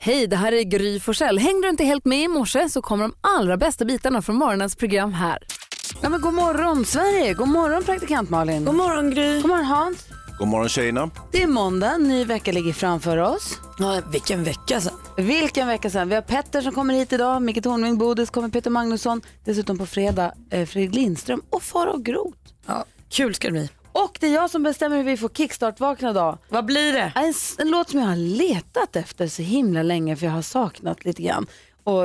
Hej, det här är Gry Forssell. Hängde du inte helt med i morse så kommer de allra bästa bitarna från morgonens program här. Ja, men god morgon Sverige, god morgon praktikant Malin. Mm. God morgon Gry. God morgon Hans. God morgon tjejerna. Det är måndag, en ny vecka ligger framför oss. Ja, vilken vecka alltså. sen. Vilken vecka sen. Vi har Petter som kommer hit idag, Micke Tornving, Bodis kommer Peter Magnusson, dessutom på fredag eh, Fredrik Lindström och Farao Groth. Ja, kul ska det bli. Och det är jag som bestämmer hur vi får kickstart-vakna idag. Vad blir det? En, s- en låt som jag har letat efter så himla länge för jag har saknat lite grann. Och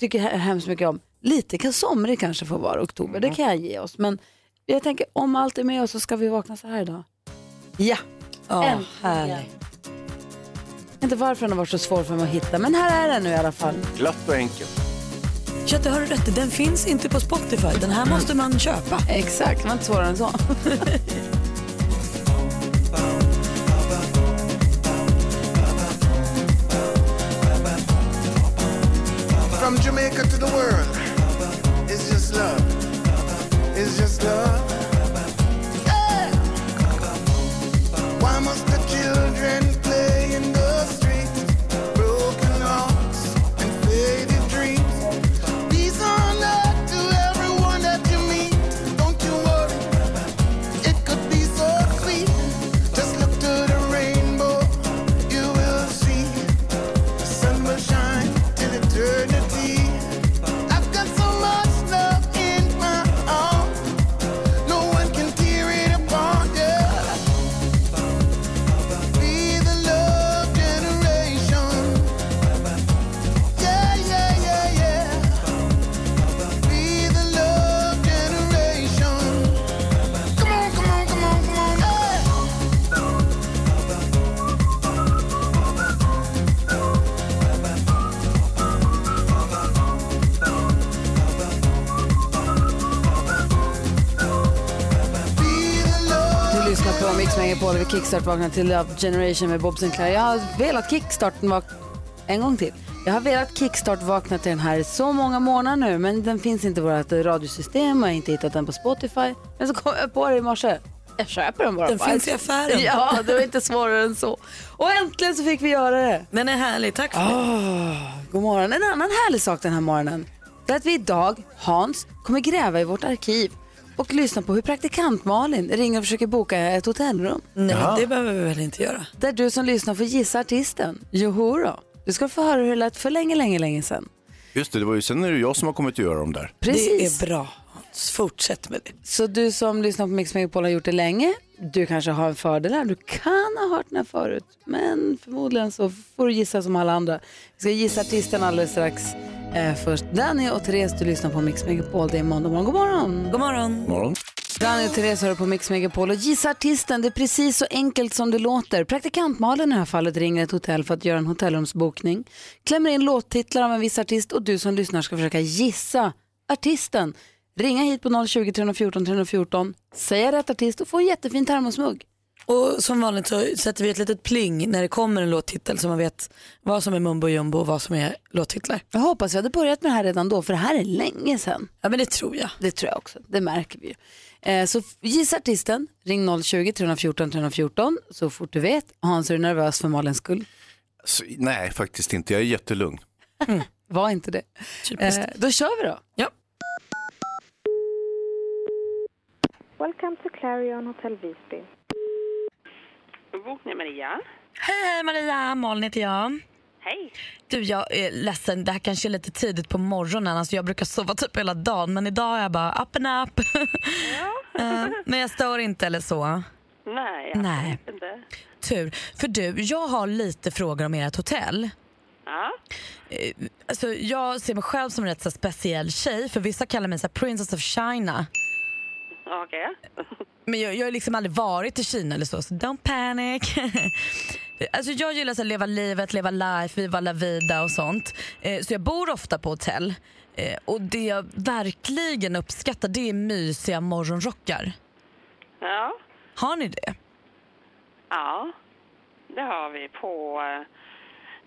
tycker he- hemskt mycket om. Lite kan somrig kanske få vara oktober, det kan jag ge oss. Men jag tänker om allt är med oss så ska vi vakna så här idag. Ja, Ja, Äntligen. härligt. Jag vet Inte varför den har varit så svår för mig att hitta, men här är den nu i alla fall. Glatt och enkelt. Ja, det har du rätt i. Den finns inte på Spotify. Den här måste man köpa. Exakt, det var inte svårare än så. From Jamaica to the world, it's just love. It's just love. Yeah. Why must the children play in the streets? Broken hearts and faded dreams. These are not to everyone that you meet. Don't you worry, it could be so sweet. Just look to the rainbow, you will see. The sun will shine till eternity. I've got so much love in my arms. No one can tear it apart. Yeah. Be the love generation. Yeah, yeah, yeah, yeah. Be the love generation. Come on, come on, come on, come on. Hey. Du lyssnar på Mix Megapol över Kickstart vaknar till Love Generation med Bob Sinclair. Jag har velat kickstarten vakna... En gång till. Jag har velat kickstart vakna till den här i så många månader nu men den finns inte i vårt radiosystem och jag har inte hittat den på Spotify. Men så kom jag på det i morse. Jag köper den bara. Den Bara- finns i affären. Ja, det var inte svårare än så. Och äntligen så fick vi göra det. Den är härlig. Tack för Ah, god morgon. En annan härlig sak den här morgonen. Det är att vi idag, Hans, kommer gräva i vårt arkiv och lyssna på hur praktikant Malin ringer och försöker boka ett hotellrum. det. Nej, det behöver vi väl inte göra. Där du som lyssnar får gissa artisten. Joho då. Du ska få höra hur det lät för länge, länge, länge sedan. Just det, det var ju, sen är det ju jag som har kommit att göra dem där. Precis. Det är bra. Hans. Fortsätt med det. Så du som lyssnar på Mix Megapol har gjort det länge. Du kanske har en fördel här. Du kan ha hört den här förut. Men förmodligen så får du gissa som alla andra. Vi ska gissa artisten alldeles strax. Eh, först Danny och Therese, du lyssnar på Mix Megapol. Det är måndag morgon. God morgon! God morgon. God morgon. Danny och Therese hör på Mix Megapol och gissa artisten, det är precis så enkelt som det låter. Praktikant Malin i det här fallet ringer ett hotell för att göra en hotellrumsbokning, klämmer in låttitlar av en viss artist och du som lyssnar ska försöka gissa artisten. Ringa hit på 020 314 314, säga rätt artist och få en jättefin termosmugg. Och som vanligt så sätter vi ett litet pling när det kommer en låttitel så man vet vad som är mumbo jumbo och vad som är låttitlar. Jag hoppas vi hade börjat med det här redan då, för det här är länge sedan. Ja men det tror jag. Det tror jag också, det märker vi ju. Eh, så f- gissa artisten, ring 020-314 314 så fort du vet. Hans, är du nervös för Malins skull? Så, nej, faktiskt inte. Jag är jättelugn. Var inte det. Typiskt. Eh, då kör vi då. Ja. Welcome to Clarion Hotel Visby. Bokning Maria. Hej hej Maria, Malin heter jag. Hej. Du jag är ledsen, det här kanske är lite tidigt på morgonen. Alltså, jag brukar sova typ hela dagen men idag är jag bara up and up. Eh, men jag stör inte eller så. Nej, Nej. absolut inte. Tur. För du, jag har lite frågor om ert hotell. Ja. Eh, Alltså, jag ser mig själv som en rätt så här speciell tjej för vissa kallar mig så här, Princess of China. Okej. Men jag, jag har liksom aldrig varit i Kina eller så, så don't panic. alltså jag gillar att leva livet, leva life, viva la vida och sånt. Eh, så jag bor ofta på hotell. Eh, och det jag verkligen uppskattar det är mysiga morgonrockar. Ja. Har ni det? Ja. Det har vi på...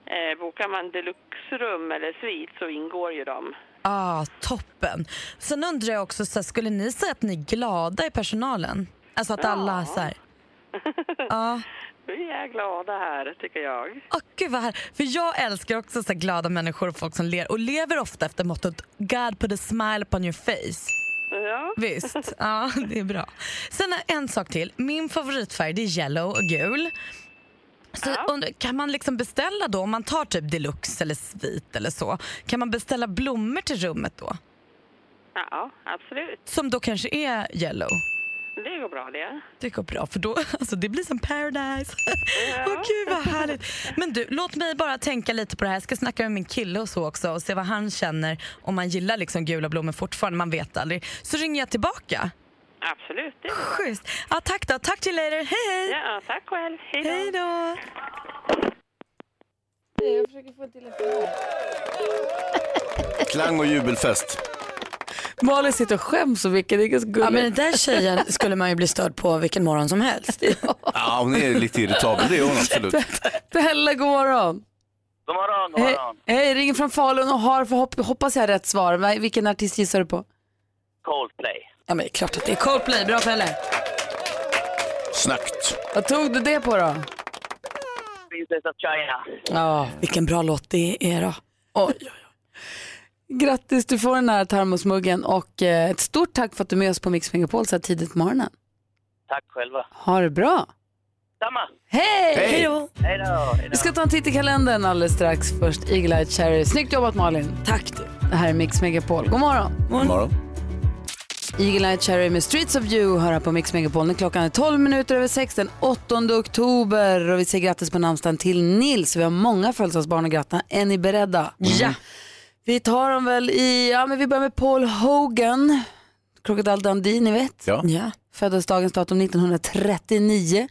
Eh, bokar man deluxe-rum eller svit så ingår ju de. Ah, toppen. Sen undrar jag också, så här, skulle ni säga att ni är glada i personalen? Alltså att alla så här... Ja, Vi är glada här, tycker jag. Åh, gud vad här. För jag älskar också så här glada människor och folk som ler och lever ofta efter mottot God put a smile upon your face. Ja, Visst, ja det är bra. Sen är en sak till. Min favoritfärg det är yellow och gul. Så jag undrar, kan man liksom beställa då, om man tar typ deluxe eller svit eller så, kan man beställa blommor till rummet då? ja absolut. Som då kanske är yellow. Det går bra det. Det går bra för då, alltså det blir som paradise. Åh gud vad härligt. Men du, låt mig bara tänka lite på det här. Jag ska snacka med min kille och så också och se vad han känner om han gillar liksom gula blommor fortfarande, man vet aldrig. Så ringer jag tillbaka. Absolut, det går bra. Schysst. Ja, tack då, tack till later. Hej hej. Ja, tack själv. Hej då. Hej då. Klang och jubelfest. Malin sitter och skäms så mycket, det är ganska Ja, gulligt. men den där tjejen skulle man ju bli störd på vilken morgon som helst. Ja, hon är lite irritabel, det är hon absolut. Pelle, god morgon. God morgon, god Hej, morgon. hej, ringer från Falun och har förhopp- hoppas jag rätt svar. Va- Vilken artist gissar du på? Coldplay. Ja, men det är klart att det är Coldplay. Bra Pelle. Snabbt. Vad tog du det på då? Princess of China. Ja, vilken bra låt det är då. Oj. Grattis, du får den här termosmuggen och eh, ett stort tack för att du är med oss på Mix Megapol så här tidigt på morgonen. Tack själva. Ha det bra. Samma. Hej! Hej då. Hej då. Hej Vi då. ska ta en titt i kalendern alldeles strax. Först Eagle-Eye Cherry. Snyggt jobbat Malin. Tack du. Det här är Mix Megapol. God morgon. God morgon. Eagle-Eye Cherry med Streets of You hör här på Mix Megapol. Nu klockan är 12 minuter över 6 den 8 oktober. Och vi säger grattis på namnsdagen till Nils. Vi har många födelsedagsbarn att gratta. Är ni beredda? Ja. Vi tar dem väl i, ja men vi börjar med Paul Hogan. Crocodile Dundee, ni vet. Ja. Ja. Föddes dagens datum 1939.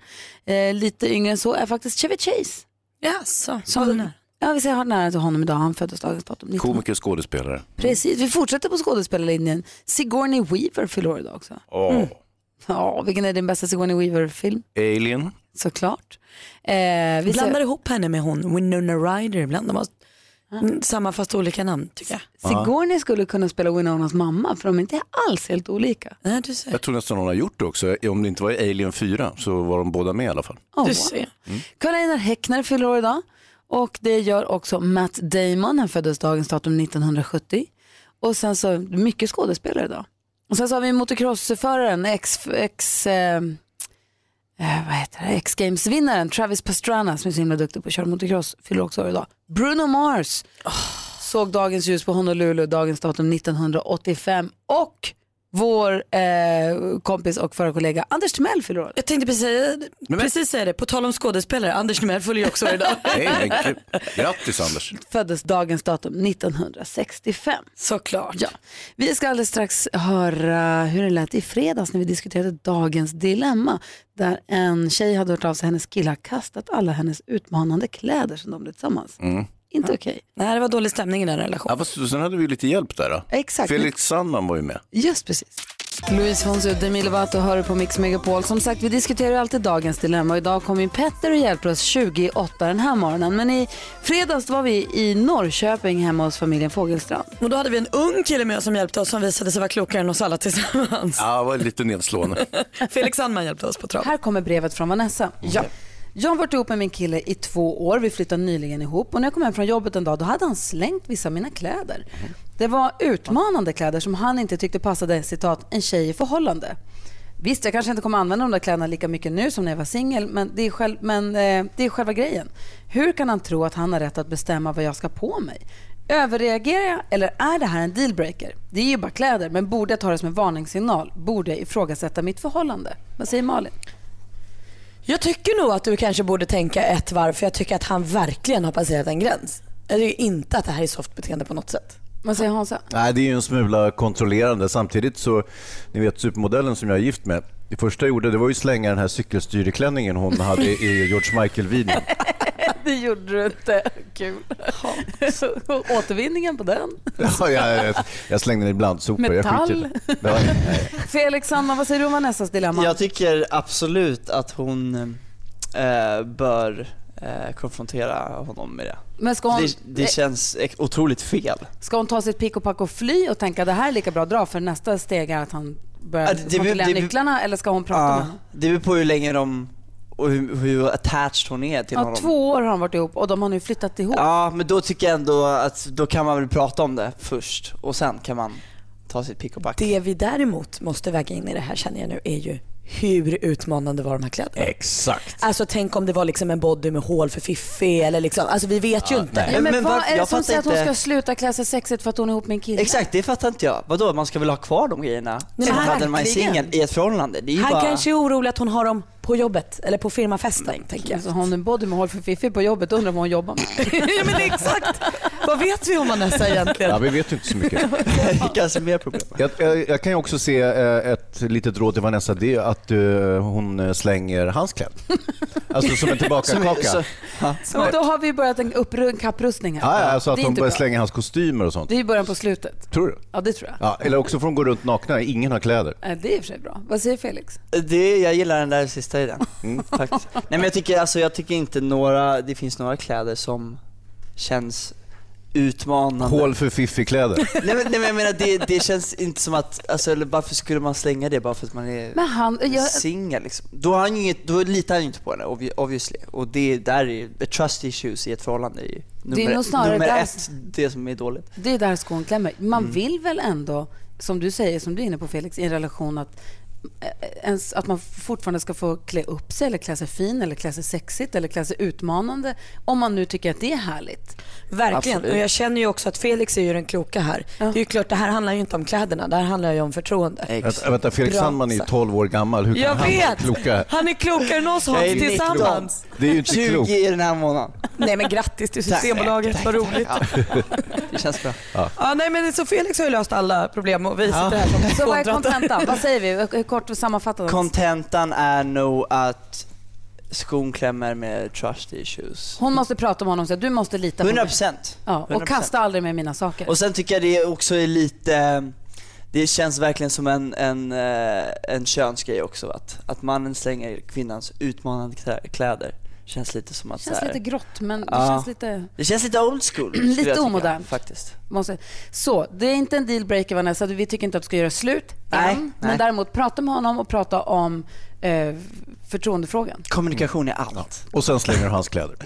Eh, lite yngre än så är faktiskt Chevy Chase. Jaså, Som, ja, vi säger har nära till honom idag. Han föddes dagens datum 19. Komiker och skådespelare. Precis, vi fortsätter på skådespelarlinjen. Sigourney Weaver fyller år idag också. Åh. Ja, vilken är din bästa Sigourney Weaver-film? Alien. Såklart. Eh, vi Blandar säger, ihop henne med hon, Winona Ryder ibland. De har mm, samma fast olika namn tycker jag. Sigourney skulle kunna spela Winonas mamma för de är inte alls helt olika. Nej, du ser. Jag tror nästan hon har gjort det också. Om det inte var i Alien 4 så var de båda med i alla fall. Oh, Du ser. Karl-Einar Häckner fyller år idag och det gör också Matt Damon. Han föddes dagens datum 1970. Och sen så, mycket skådespelare idag. Och sen så har vi motocrossföraren, ex, ex, eh, eh, vad heter det, X-Games-vinnaren Travis Pastrana som är så himla duktig på att köra motocross, fyller också år idag. Bruno Mars såg dagens ljus på Honolulu, dagens datum 1985. Och vår eh, kompis och förra kollega Anders Timell fyller år. Jag tänkte precis, säga- precis säga det, på tal om skådespelare, Anders Timell följer ju också år idag. Nej, men kul. Grattis Anders. föddes dagens datum 1965. Såklart. Ja. Vi ska alldeles strax höra hur det lät i fredags när vi diskuterade dagens dilemma. Där en tjej hade hört av sig, hennes kille har kastat alla hennes utmanande kläder som de blev tillsammans. Inte okej. Nej, det var dålig stämning i den relationen. Ja, fast sen hade vi ju lite hjälp där. Då. Exakt. Felix Sandman var ju med. Just precis. Luis Fonsi och Demi Lovato hör på Mix Megapol. Som sagt, vi diskuterar ju alltid dagens dilemma och idag kom in Petter och hjälper oss 28 den här morgonen. Men i fredags var vi i Norrköping hemma hos familjen Fogelstrand. Och då hade vi en ung kille med oss som hjälpte oss som visade sig vara klokare än oss alla tillsammans. Ja, det var lite nedslående. Felix Sandman hjälpte oss på trav. Här kommer brevet från Vanessa. Ja. Jag har varit ihop med min kille i två år. Vi flyttade nyligen ihop. Och när jag kom hem från jobbet en dag då hade han slängt vissa av mina kläder. Det var utmanande kläder som han inte tyckte passade citat, en tjej i förhållande. Visst, jag kanske inte kommer använda de där kläderna lika mycket nu som när jag var singel, men, det är, själv, men eh, det är själva grejen. Hur kan han tro att han har rätt att bestämma vad jag ska på mig? Överreagerar jag eller är det här en dealbreaker? Det är ju bara kläder, men borde jag ta det som en varningssignal? Borde jag ifrågasätta mitt förhållande? Vad säger Malin? Jag tycker nog att du kanske borde tänka ett varv för jag tycker att han verkligen har passerat en gräns. Jag tycker inte att det här är soft beteende på något sätt. Vad säger Hansa? Nej, det är ju en smula kontrollerande. Samtidigt så, ni vet supermodellen som jag är gift med, det första jag gjorde det var ju slänga den här cykelstyreklänningen hon hade i George Michael-videon. Det gjorde du inte. Kul. Återvinningen på den. Ja, jag, jag slängde den ibland, sopor. Jag skiter i det. Ja, nej. Felix, Sanna, vad säger du om Vanessas dilemma? Jag tycker absolut att hon eh, bör eh, konfrontera honom med det. Men ska hon, eh, Det, det känns ek- otroligt fel. ska hon ta sitt pick och pack och fly och tänka det här är lika bra att dra för nästa steg är att han börjar Ja, det- det- kontrollera det- nycklarna eller ska hon prata med Ja, honom? det beror på hur länge de och hur, hur attached hon är till Ja, honom. två år har de varit ihop och de har nu flyttat ihop. Ja, men då tycker jag ändå att då kan man väl prata om det först och sen kan man ta sitt pick och pack. Det vi däremot måste väga in i det här känner jag nu är ju hur utmanande var de här kläderna? Exakt. Alltså tänk om det var liksom en body med hål för fiffi eller liksom, alltså vi vet ju inte. nej. Ja, men, Men vad varför- är det jag som fattar säger att hon inte- ska sluta klä sig sexigt för att hon är ihop med en kille? Exakt, det fattar inte jag. Vadå, man ska väl ha kvar de grejerna men som man hade när man är verkligen. singel i ett förhållande? Det är ju Han bara... kanske är orolig att hon har dem på jobbet eller på firmafesten tänker jag. Alltså, har hon en body med hål för fiffi på jobbet undrar vad hon jobbar med. ja, men exakt. Vad vet vi om Vanessa egentligen? Ja, vi vet ju inte så mycket. kanske mer problem. Jag, jag, jag kan ju också se eh, ett litet råd till Vanessa, det är att eh, hon eh, slänger hans kläder. Alltså som en tillbakakaka. Så- Ja, ja. Men då har vi börjat en upprö- en kapprustning här. ja, alltså att det är hon inte börjar bra. slänga hans kostymer och sånt. Det är ju början på slutet. Tror du? Ja, det tror jag. Ja, eller också får hon gå runt nakna, ingen har kläder. Eh, Det är i och för sig bra. Vad säger Felix? Det, jag gillar den där sista idén. Faktiskt. Nej men jag tycker, alltså, jag tycker inte några, det finns några kläder som känns utmanande. Hål för fiffi-kläder. Nej men, nej men jag menar det, det känns inte som att, alltså, eller varför skulle man slänga det bara för att man är Men han, jag, singel liksom? Då, har han ju inget, då litar han ju inte på henne obvi- obviously. Och det där är ju, trust issues i ett förhållande är ju är nummer, nog snarare nummer där- ett, det som är dåligt. det är där skon klämmer. Man Mm. vill väl ändå, som du säger, som du är inne på Felix, i en relation att eh, ens, att man fortfarande ska få klä upp sig eller klä sig fin eller klä sig sexigt eller klä sig utmanande om man nu tycker att det är härligt. Verkligen. Absolut. Och jag känner ju också att Felix är ju den kloka här. Det är ju klart, det här handlar ju inte om kläderna, det här handlar ju om förtroende. Vänta, vänta, Felix Bra. Sandman är ju 12 år gammal, hur kan Jag han vet! vara klokare? Han är klokare än oss Hans Jag är nitton. tillsammans. Det är ju inte klokt. 20 i den här månaden. Nej men grattis till Systembolaget, vad roligt. Ja. Det känns bra. Ja, nej, men så Felix har ju löst alla problem och vi sitter här som Så vad är kontrata. kontentan? Vad säger vi? Hur Kort sammanfattat. Kontentan är nog att skon klämmer med trust issues. Hon måste prata med honom och säga du måste lita på 100 mig. procent. Ja, och kasta aldrig med mina saker. Och sen tycker jag det också är lite, det känns verkligen som en, en, eh, en könsgrej också. Att, att mannen slänger kvinnans utmanande klä- kläder. Känns lite som att Det känns så här, lite grått men det Ja. känns lite... det känns lite old school. skulle jag tycka, omodernt. Faktiskt. Måste. Så, det är inte en dealbreaker Vanessa. Vi tycker inte att du ska göra slut Nej, än. Men nej. däremot prata med honom och prata om eh, förtroendefrågan. Kommunikation är allt. Och sen slänger hon hans kläder.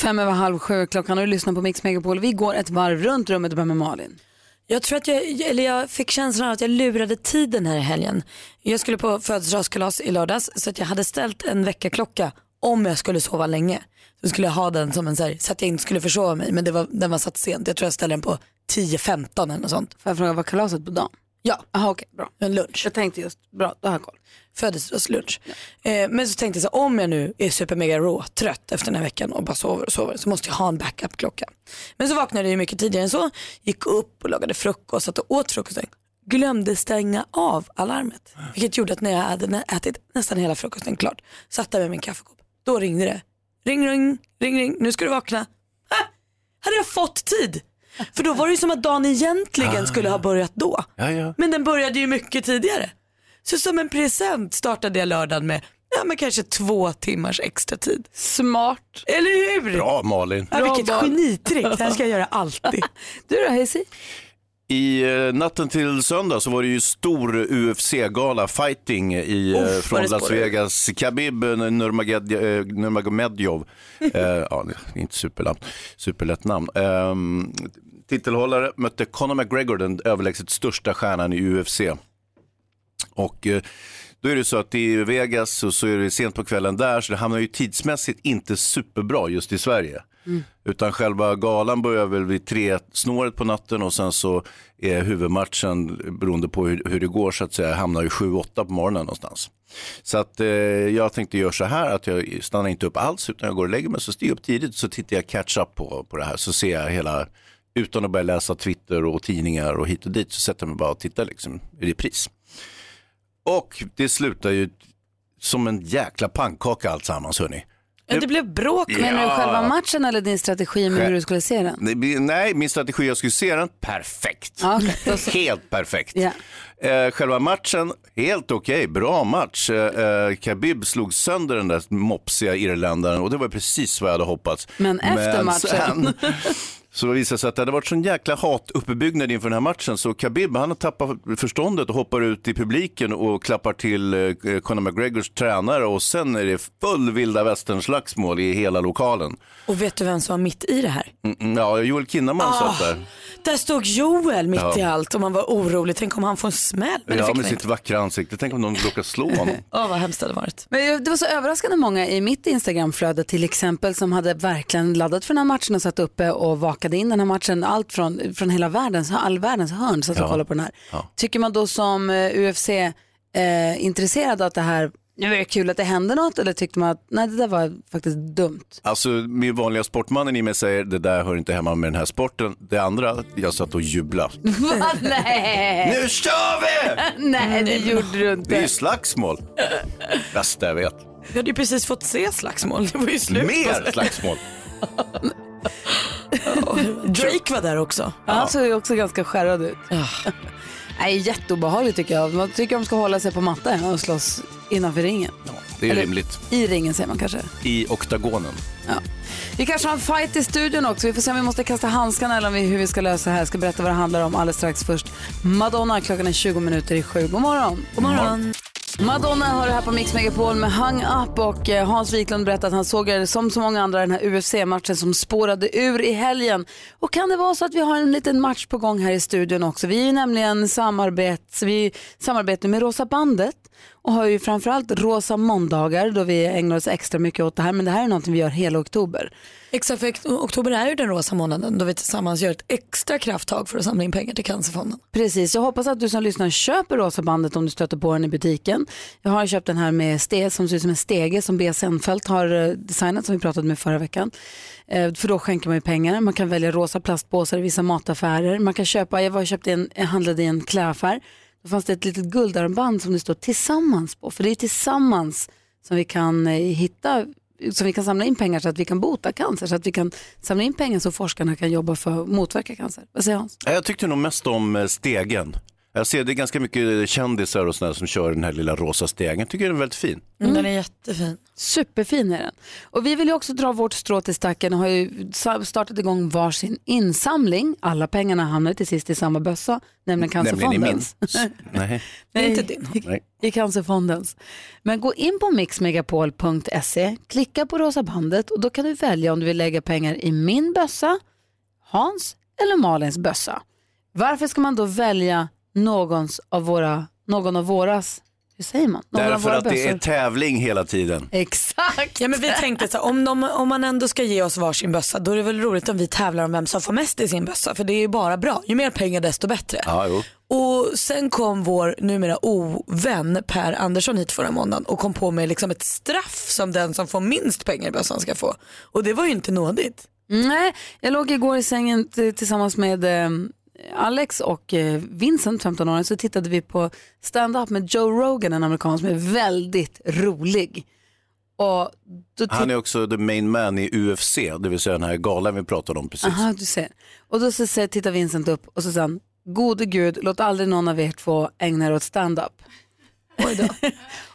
Fem över halv sju är klockan och du lyssnar på Mix Megapol. Vi går ett varv runt rummet och börjar med Malin. Jag tror att jag, eller jag fick känslan av att jag lurade tiden här i helgen. Jag skulle på födelsedagskalas i lördags så att jag hade ställt en väckarklocka om jag skulle sova länge. Så skulle jag ha den som en så, här, så att jag inte skulle försova mig men det var, den var satt sent. Jag tror jag ställde den på 10-15 eller något sånt. Får jag fråga, var kalaset på dagen? Ja. Jaha okej, bra. En lunch. Jag tänkte just, bra, då har jag koll. Födelsedagslunch. Eh, men så tänkte jag så här, om jag nu är super mega rå, trött efter den här veckan och bara sover och sover så måste jag ha en backup-klocka. Men så vaknade jag ju mycket tidigare än så, gick upp och lagade frukost, satt och åt frukosten. Glömde stänga av alarmet. Vilket gjorde att när jag hade nä- ätit nästan hela frukosten klart, satt där med min kaffekopp. Då ringde det. Ring, ring, ring, ring, nu ska du vakna. Ah, hade jag fått tid? För då var det ju som att dagen egentligen skulle ha börjat då. Ja, ja. Men den började ju mycket tidigare. Så som en present startade jag lördagen med ja, men kanske två timmars extra tid. Smart. Eller hur? Bra Malin. Ja, vilket genitrick. Det här ska jag göra alltid. Du då Hayesy? I eh, natten till söndag så var det ju stor UFC-gala, fighting, i, eh, Uff, vad från det Las spårar. Vegas. Khabib eh, Nurmaged- eh, Nurmagomedov, eh, ja, det är inte superlätt, superlätt namn. Ehm, titelhållare mötte Conor McGregor, den överlägset största stjärnan i UFC. Och eh, då är det så att i Vegas och så är det sent på kvällen där så det hamnar ju tidsmässigt inte superbra just i Sverige. Utan själva galan börjar väl vid tre snåret på natten och sen så är huvudmatchen beroende på hur, hur det går så att säga hamnar ju sju, åtta på morgonen någonstans. Så att eh, jag tänkte göra så här att jag stannar inte upp alls utan jag går och lägger mig så stiger jag upp tidigt så tittar jag catch up på, på det här så ser jag hela utan att börja läsa Twitter och tidningar och hit och dit så sätter jag mig bara och tittar liksom i repris. Och det slutar ju som en jäkla pannkaka alltsammans hörni. Det blev bråk. Menar du Ja. själva matchen eller din strategi med hur du skulle se den? Nej, bi- Nej, min strategi, jag skulle se den perfekt. Ja, okej, då så. Helt perfekt. Ja. Eh, själva matchen, helt okej, bra match. Eh, eh, Khabib slog sönder den där mopsiga irländaren och det var precis vad jag hade hoppats. Men efter matchen. sen Så det visade sig att det hade varit sån jäkla hatuppbyggnad inför den här matchen så Khabib han har tappat förståndet och hoppar ut i publiken och klappar till eh, Conor McGregors tränare och sen är det full vilda västern-slagsmål i hela lokalen. Och vet du vem som var mitt i det här? Mm, mm, Ja, Joel Kinnaman Ah, satt där. Där stod Joel mitt Ja. i allt och man var orolig. Tänk om han får en smäll. Men det Ja, fick med han sitt inte. vackra ansikte. Tänk om någon råkar slå honom. Åh vad hemskt det hade varit. Men det var så överraskande många i mitt Instagramflöde till exempel som hade verkligen laddat för den här matchen och satt uppe och vakade in den här matchen. Allt från, från hela världens, all världens hörn satt och Ja. kollade på den här. Ja. Tycker man då som eh, UFC-intresserad eh, att det här, nu är det kul att det hände något eller tyckte man att nej det där var faktiskt dumt? Alltså, min vanliga sportmannen i mig säger det där hör inte hemma med den här sporten. Det andra, jag satt och jublade. Va? Nej! Nu kör vi! nej det gjorde du Det är ju inte. slagsmål. Bästa jag vet. Vi hade ju precis fått se slagsmål. Det var ju slut. Mer slagsmål. Drake var där också. Han såg ju också ganska skärrad ut. Nej, jätteobehagligt tycker jag. Man tycker de ska hålla sig på mattan och slåss innanför ringen. Det är ju Eller- rimligt. I ringen säger man kanske. I oktagonen. Vi kanske har en fight i studion också. Vi får se om vi måste kasta handskarna eller om vi, hur vi ska lösa det här. Jag ska berätta vad det handlar om alldeles strax. Först Madonna, klockan är 20 minuter i sju. God morgon. God morgon. Madonna har det här på Mix Megapol med Hang Up och eh, Hans Wiklund berättar att han såg eh, som så många andra den här UFC-matchen som spårade ur i helgen. Och kan det vara så att vi har en liten match på gång här i studion också? Vi är ju nämligen samarbets, vi samarbetar med Rosa Bandet och har ju framförallt Rosa måndagar då vi ägnar oss extra mycket åt det här. Men det här är någonting vi gör hela oktober. Exakt, för ok- oktober är ju den rosa månaden då vi tillsammans gör ett extra krafttag för att samla in pengar till Cancerfonden. Precis, jag hoppas att du som lyssnar köper rosa bandet om du stöter på den i butiken. Jag har köpt den här med ste som ser ut som en stege som Bea Senfeldt har eh, designat som vi pratade med förra veckan. Eh, För då skänker man ju pengar. Man kan välja rosa plastpåsar i vissa mataffärer. Man kan köpa, jag var och köpte en, jag handlade i en klädaffär. Då fanns det ett litet guldarmband som det står tillsammans på. För det är tillsammans som vi kan eh, hitta som vi kan samla in pengar så att vi kan bota cancer, så att vi kan samla in pengar så forskarna kan jobba för att motverka cancer. Vad säger Hans? Ja, Jag tyckte nog mest om eh, stegen. Jag ser det är ganska mycket kändisar och sådana som kör den här lilla rosa stegen. Jag tycker den är väldigt fin. Mm. Den är jättefin. Superfin är den. Och vi vill ju också dra vårt strå till stacken och har ju sa- startat igång varsin insamling. Alla pengarna hamnar ju till sist i samma bössa, nämligen i min. Cancerfondens. Nej. Nej, inte din. Nej. I Cancerfondens. Men gå in på mixmegapol.se, klicka på rosa bandet och då kan du välja om du vill lägga pengar i min bössa, Hans eller Malins bössa. Varför ska man då välja någons av våra, någon av våras, hur säger man? Någon av Därför våra att det är bössor. tävling hela tiden. Exakt. Ja, men vi tänkte så här, om, de, om man ändå ska ge oss varsin bössa då är det väl roligt om vi tävlar om vem som får mest i sin bössa för det är ju bara bra. Ju mer pengar desto bättre. Ja, jo. Och sen kom vår numera ovän Per Andersson hit förra måndagen och kom på med liksom ett straff som den som får minst pengar i bössan ska få. Och det var ju inte nådigt. Nej, jag låg igår i sängen t- tillsammans med eh, Alex och eh, Vincent, 15 åringen, så tittade vi på stand-up med Joe Rogan, en amerikan som är väldigt rolig. Och då titt- Han är också the main man i UFC, det vill säga den här galan vi pratade om precis. Aha, du ser. Och då så, så tittar Vincent upp och så sa han, gode gud, låt aldrig någon av er två ägna er åt stand-up.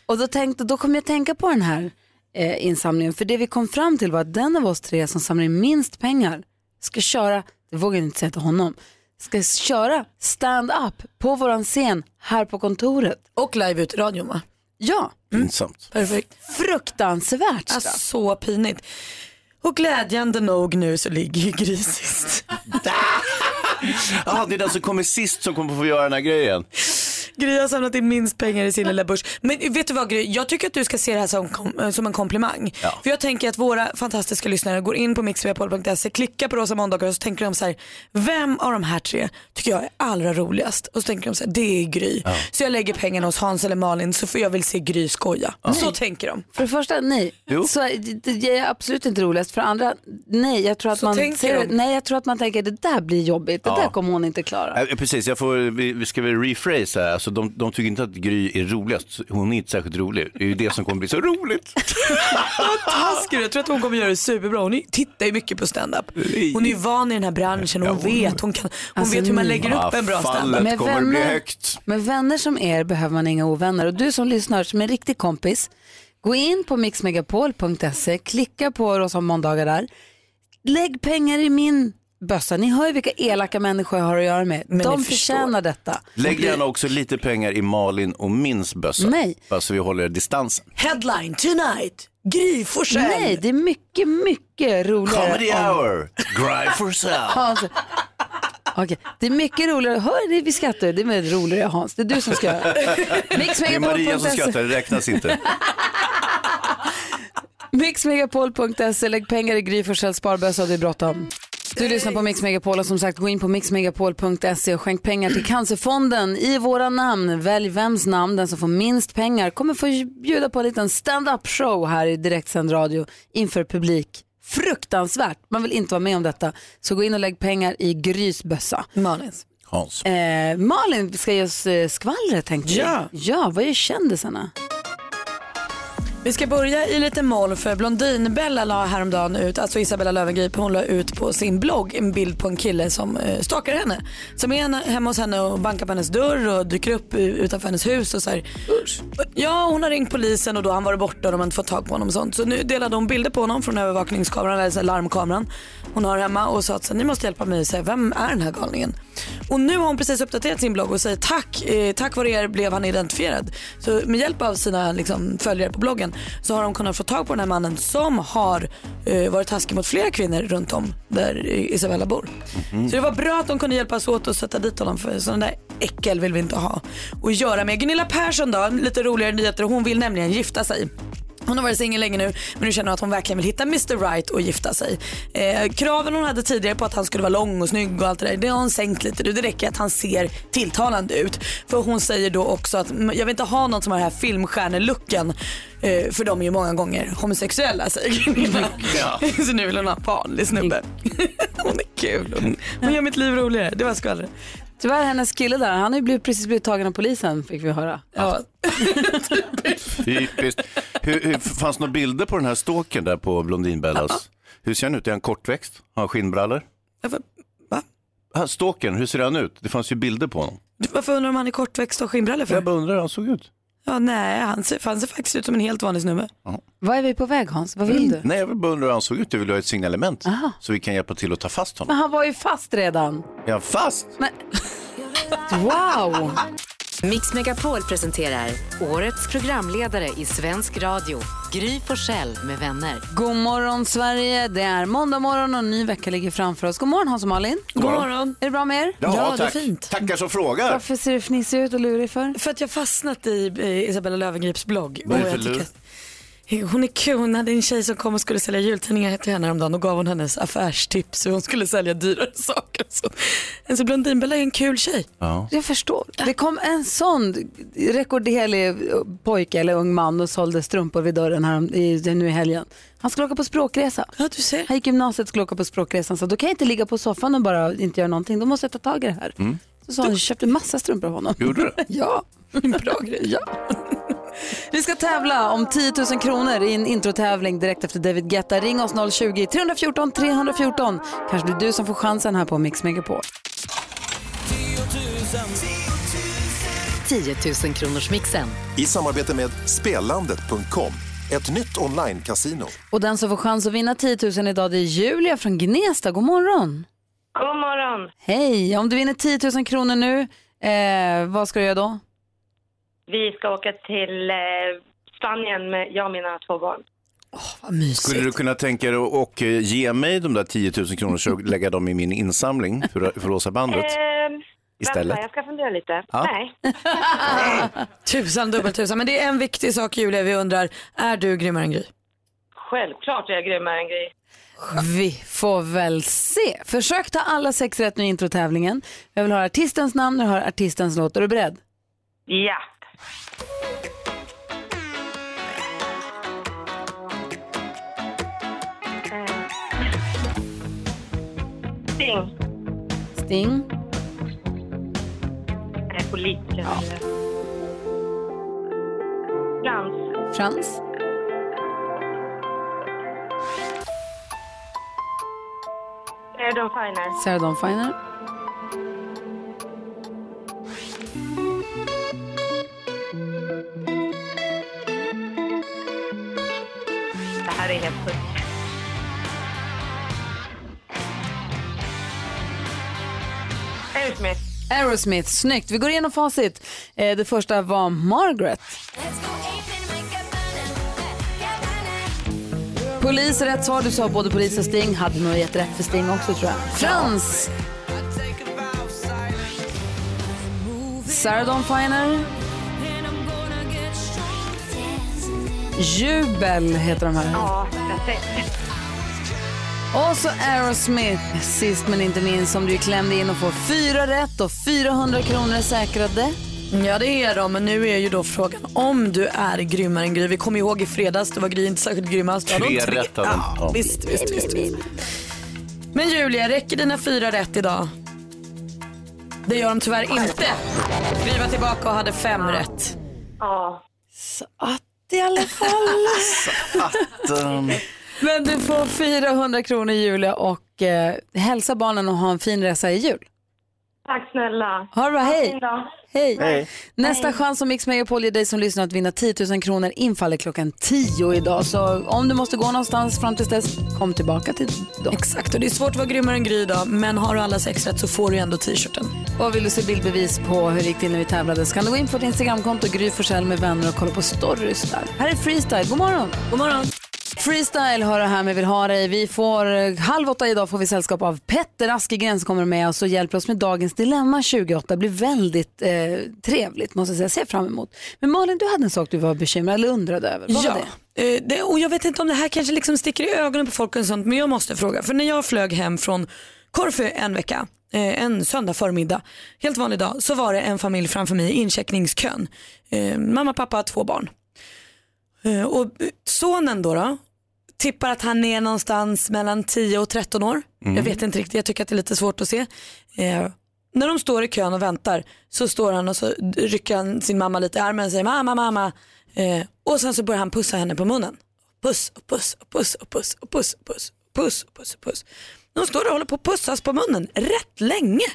Och då, tänkte, då kom jag tänka på den här eh, insamlingen. För det vi kom fram till var att den av oss tre som samlar in minst pengar ska köra, det vågar jag inte säga till honom, ska köra stand-up på våran scen här på kontoret. Och live ut i radion va? Ja. Pinsamt. Perfekt. Fruktansvärt alltså, Så pinigt. Och glädjande nog nu så ligger ju Gry sist. Ah, det är den som kommer sist som kommer få göra den här grejen. Gry har samlat in minst pengar i sin lilla börs. Men vet du vad Gry, jag tycker att du ska se det här som, kom, eh, som en komplimang. Ja. För jag tänker att våra fantastiska lyssnare går in på mixvepol.se, klickar på Rosa måndagar och så tänker de så här, vem av de här tre tycker jag är allra roligast? Och så tänker de så här, det är Gry. Ja. Så jag lägger pengarna hos Hans eller Malin så får jag väl se Gry skoja. Så tänker de. För det första, nej. Jo. Så, det, det är absolut inte roligast. För det andra, nej. Jag tror att, Så man, tänker ser, de. nej, jag tror att man tänker det där blir jobbigt. Det Ja. där kommer hon inte klara. Eh, Precis, jag får, vi, vi ska väl rephrase här. Alltså, de, de tycker inte att Gry är roligast. Hon är inte särskilt rolig. Det är ju det som kommer bli så roligt. Fantastiskt, jag tror att hon kommer göra det superbra. Hon är- tittar ju mycket på stand-up. Hon är ju van i den här branschen och hon vet, hon kan, hon Alltså, vet hur man ni- lägger upp en bra stand-up. Med vänner som er behöver man inga ovänner. Och du som lyssnar, som är en riktig kompis, gå in på mixmegapol.se, klicka på Rosa måndagar där. Lägg pengar i min bössa. Ni hör ju vilka elaka människor jag har att göra med. De förtjänar detta. Lägg gärna också lite pengar i Malin och Mins bössa. Nej. Bara så vi håller distansen. Headline tonight, Gry Forssell. Nej, det är mycket, mycket roligare. Comedy om- hour, Gry Forssell. Hans. Okej, det är mycket roligare. Hör, det- vi skrattar ju. Det är mer roligare Hans. Det är du som ska göra Det är Maria E. som skrattar, det räknas inte. Mixmegapol.se, E. lägg pengar i Gry Forssells sparbössa och det är bråttom. Du lyssnar på Mix Megapol och som sagt gå in på mixmegapol.se E och skänk pengar till Cancerfonden i våra namn. Välj vems namn, den som får minst pengar kommer få bjuda på en liten stand-up show här i direktsänd radio inför publik. Fruktansvärt, man vill inte vara med om detta. Så gå in och lägg pengar i Grys bössa. Malins. Hans. Eh, Malin ska ge oss eh, skvallret tänkte Ja. jag. Ja, vad gör kändisarna? Vi ska börja i lite moll för Blondinbella la häromdagen ut, alltså Isabella Löwengrip, hon la ut på sin blogg en bild på en kille som eh, stalkar henne. Som är henne- hemma hos henne och bankar på hennes dörr och dyker upp u- utanför hennes hus och så här. Ja, hon har ringt polisen och då har han varit borta och de har inte fått tag på honom och sånt. Så nu delade hon bilder på honom från övervakningskameran, eller så här larmkameran hon har hemma och sa att så här, ni måste hjälpa mig och säga vem är den här galningen? Och nu har hon precis uppdaterat sin blogg och säger tack, eh, tack vare er blev han identifierad. Så med hjälp av sina liksom, följare på bloggen så har de kunnat få tag på den här mannen som har eh, varit taskig mot flera kvinnor runt om där eh, Isabella bor. Så det var bra att de kunde hjälpas åt och sätta dit honom för sådana där äckel vill vi inte ha att göra med. Gunilla Persson då, lite roligare nyheter. Hon vill nämligen gifta sig. Hon har varit singel länge nu men nu känner hon att hon verkligen vill hitta Mr Right och gifta sig. Eh, kraven hon hade tidigare på att han skulle vara lång och snygg och allt det där, det har hon sänkt lite nu. Det räcker att han ser tilltalande ut. För hon säger då också att "Mm, jag vill inte ha någon som har den här filmstjärnelooken. Eh, för de är ju många gånger homosexuella säger Gunilla. Så nu vill hon ha en vanlig snubbe. hon är kul. Hon- Hon gör mitt liv roligare. Det var skvallret. Tyvärr hennes kille där, han har ju blivit, precis blivit tagen av polisen fick vi höra. Ja. Typiskt. Hur, hur, fanns några bilder på den här stalken där på Blondinbellas? Hur ser han ut? Är han kortväxt? Har han skinnbrallor? Va? Stalken, hur ser han ut? Det fanns ju bilder på honom. Varför undrar du om han är kortväxt och skinbrallor för? Jag bara undrar hur han såg ut. Ja, nej, han ser, han ser faktiskt ut som en helt vanlig snubbe. Vad är vi på väg Hans? Vad vill du? Nej, jag vill bara undra hur han såg ut. Jag vill ha ett signalement så vi kan hjälpa till att ta fast Men honom. han var ju fast redan. Är han fast? Wow! Mix Megapol presenterar årets programledare i svensk radio, Gry Forssell med vänner. God morgon Sverige, det är måndag morgon och en ny vecka ligger framför oss. God morgon Hans och Malin. God morgon. God morgon. Är det bra med er? tack. Tackar som frågar. Varför ser du fnissig ut och lurig för? För att jag fastnat i eh, Isabella Lövengrips blogg. Vad är det Och för jag tycker lur? att- Hon är kul, hon hade en tjej som kom och skulle sälja jultidningar till henne häromdagen och gav hon hennes affärstips hur hon skulle sälja dyrare saker. Så, alltså Blondinbella är en kul tjej. Ja. Jag förstår. Det kom en sån rekorderlig pojke eller ung man och sålde strumpor vid dörren här i, nu i helgen. Han skulle åka på språkresa. Ja, du ser. Han gick i gymnasiet och skulle åka på språkresan. Så då kan jag inte ligga på soffan och bara inte göra någonting. Då måste jag ta tag i det här. Mm. Så sa han, jag köpte massa strumpor av honom. Gjorde du? ja. Bra grej. Ja. Vi ska tävla om 10 000 kronor i en introtävling direkt efter David Guetta. Ring oss 020-314 314. Kanske det är du som får chansen här på Mix Megapol. 10 000 kronors mixen. I samarbete med Spelandet.com, ett nytt online-casino. Och den som får chans att vinna 10 000 idag det är Julia från Gnesta. God morgon! God morgon. Hej! Om du vinner 10 000 kronor nu, eh, vad ska du göra då? Vi ska åka till eh, Spanien med jag och mina två barn. Skulle du kunna tänka dig att och, eh, ge mig de där 10 000 kronor så jag lägger dem i min insamling för, för Rosa bandet? Ehm, Istället. Vänta, jag ska fundera lite. Ja. Nej. Tusan dubbeltusan. Men det är en viktig sak Julia vi undrar, är du grymmare än Gry? Självklart är jag grymmare än Gry. Vi får väl se. Försök ta alla sex rätt nu i introtävlingen. Jag vill höra artistens namn och jag hör artistens låt. Är du beredd? Ja. Sting. Sting. Eh, Politiker. Frans. Frans. Eh, De Finer. Sarah Dawn Finer. Det här är helt sjukt. Aerosmith. Aerosmith, snyggt. Vi går igenom facit. Eh, det första var Margaret. Polis är rätt svar. Du sa både polis och Sting. Hade nog gett rätt för Sting också tror jag. Frans! Sarah Dawn Finer. Jubel heter de här. Ja, that's it. Och så Aerosmith, sist men inte minst, som du klämde in och får fyra rätt och 400 kronor är säkrade. Ja det är de, men nu är ju då frågan om du är grymmare än Gry. Vi kommer ihåg i fredags, då var Gry inte särskilt grymmast. Då hade hon Tre rätt hade hon. ja, Ja. visst, visst, visst, visst. Men Julia, räcker dina fyra rätt idag? Det gör de tyvärr inte. Gry var tillbaka och hade fem rätt. Ja. Så Ah. att i alla fall. Ehm, men du får 400 kronor Julia och eh, hälsa barnen och ha en fin resa i jul. Tack snälla. Ha det bra, Ha en hej. fin dag. Hej. Hej. Nästa chans som Mix Megapol ger dig som lyssnar att vinna 10 000 kronor infaller klockan 10 idag. Så om du måste gå någonstans fram tills dess, kom tillbaka till dem. Exakt, och det är svårt att vara grymmare än Gry idag, men har du alla sex rätt så får du ju ändå t-shirten. Och vill du se bildbevis på hur det gick till när vi tävlade så kan du gå in på vårt Instagramkonto, Gry Forssell med vänner och kolla på stories där. Här är Freestyle, god morgon! God morgon! Freestyle hör du här med Vill ha dig. Vi får, eh, halv åtta idag får vi sällskap av Petter Askegren som kommer med oss och hjälper oss med dagens dilemma 28. Det blir väldigt eh, trevligt måste jag säga, ser fram emot. Men Malin, du hade en sak du var bekymrad eller undrade över. Vad ja. var det? eh, det? och jag vet inte om det här kanske liksom sticker i ögonen på folk och sånt men jag måste fråga. För när jag flög hem från Korfu en vecka, eh, en söndag förmiddag, helt vanlig dag, så var det en familj framför mig i incheckningskön. Eh, mamma, pappa, två barn. Eh, och eh, sonen då, då tippar att han är någonstans mellan 10 och 13 år. Mm. Jag vet inte riktigt, jag tycker att det är lite svårt att se. Eh, när de står i kön och väntar så står han och så rycker han sin mamma lite i armen och säger mamma, mamma. Eh, och sen så börjar han pussa henne på munnen. Puss och puss och puss och puss och puss och puss och puss och puss och puss. De står och håller på att pussas på munnen rätt länge.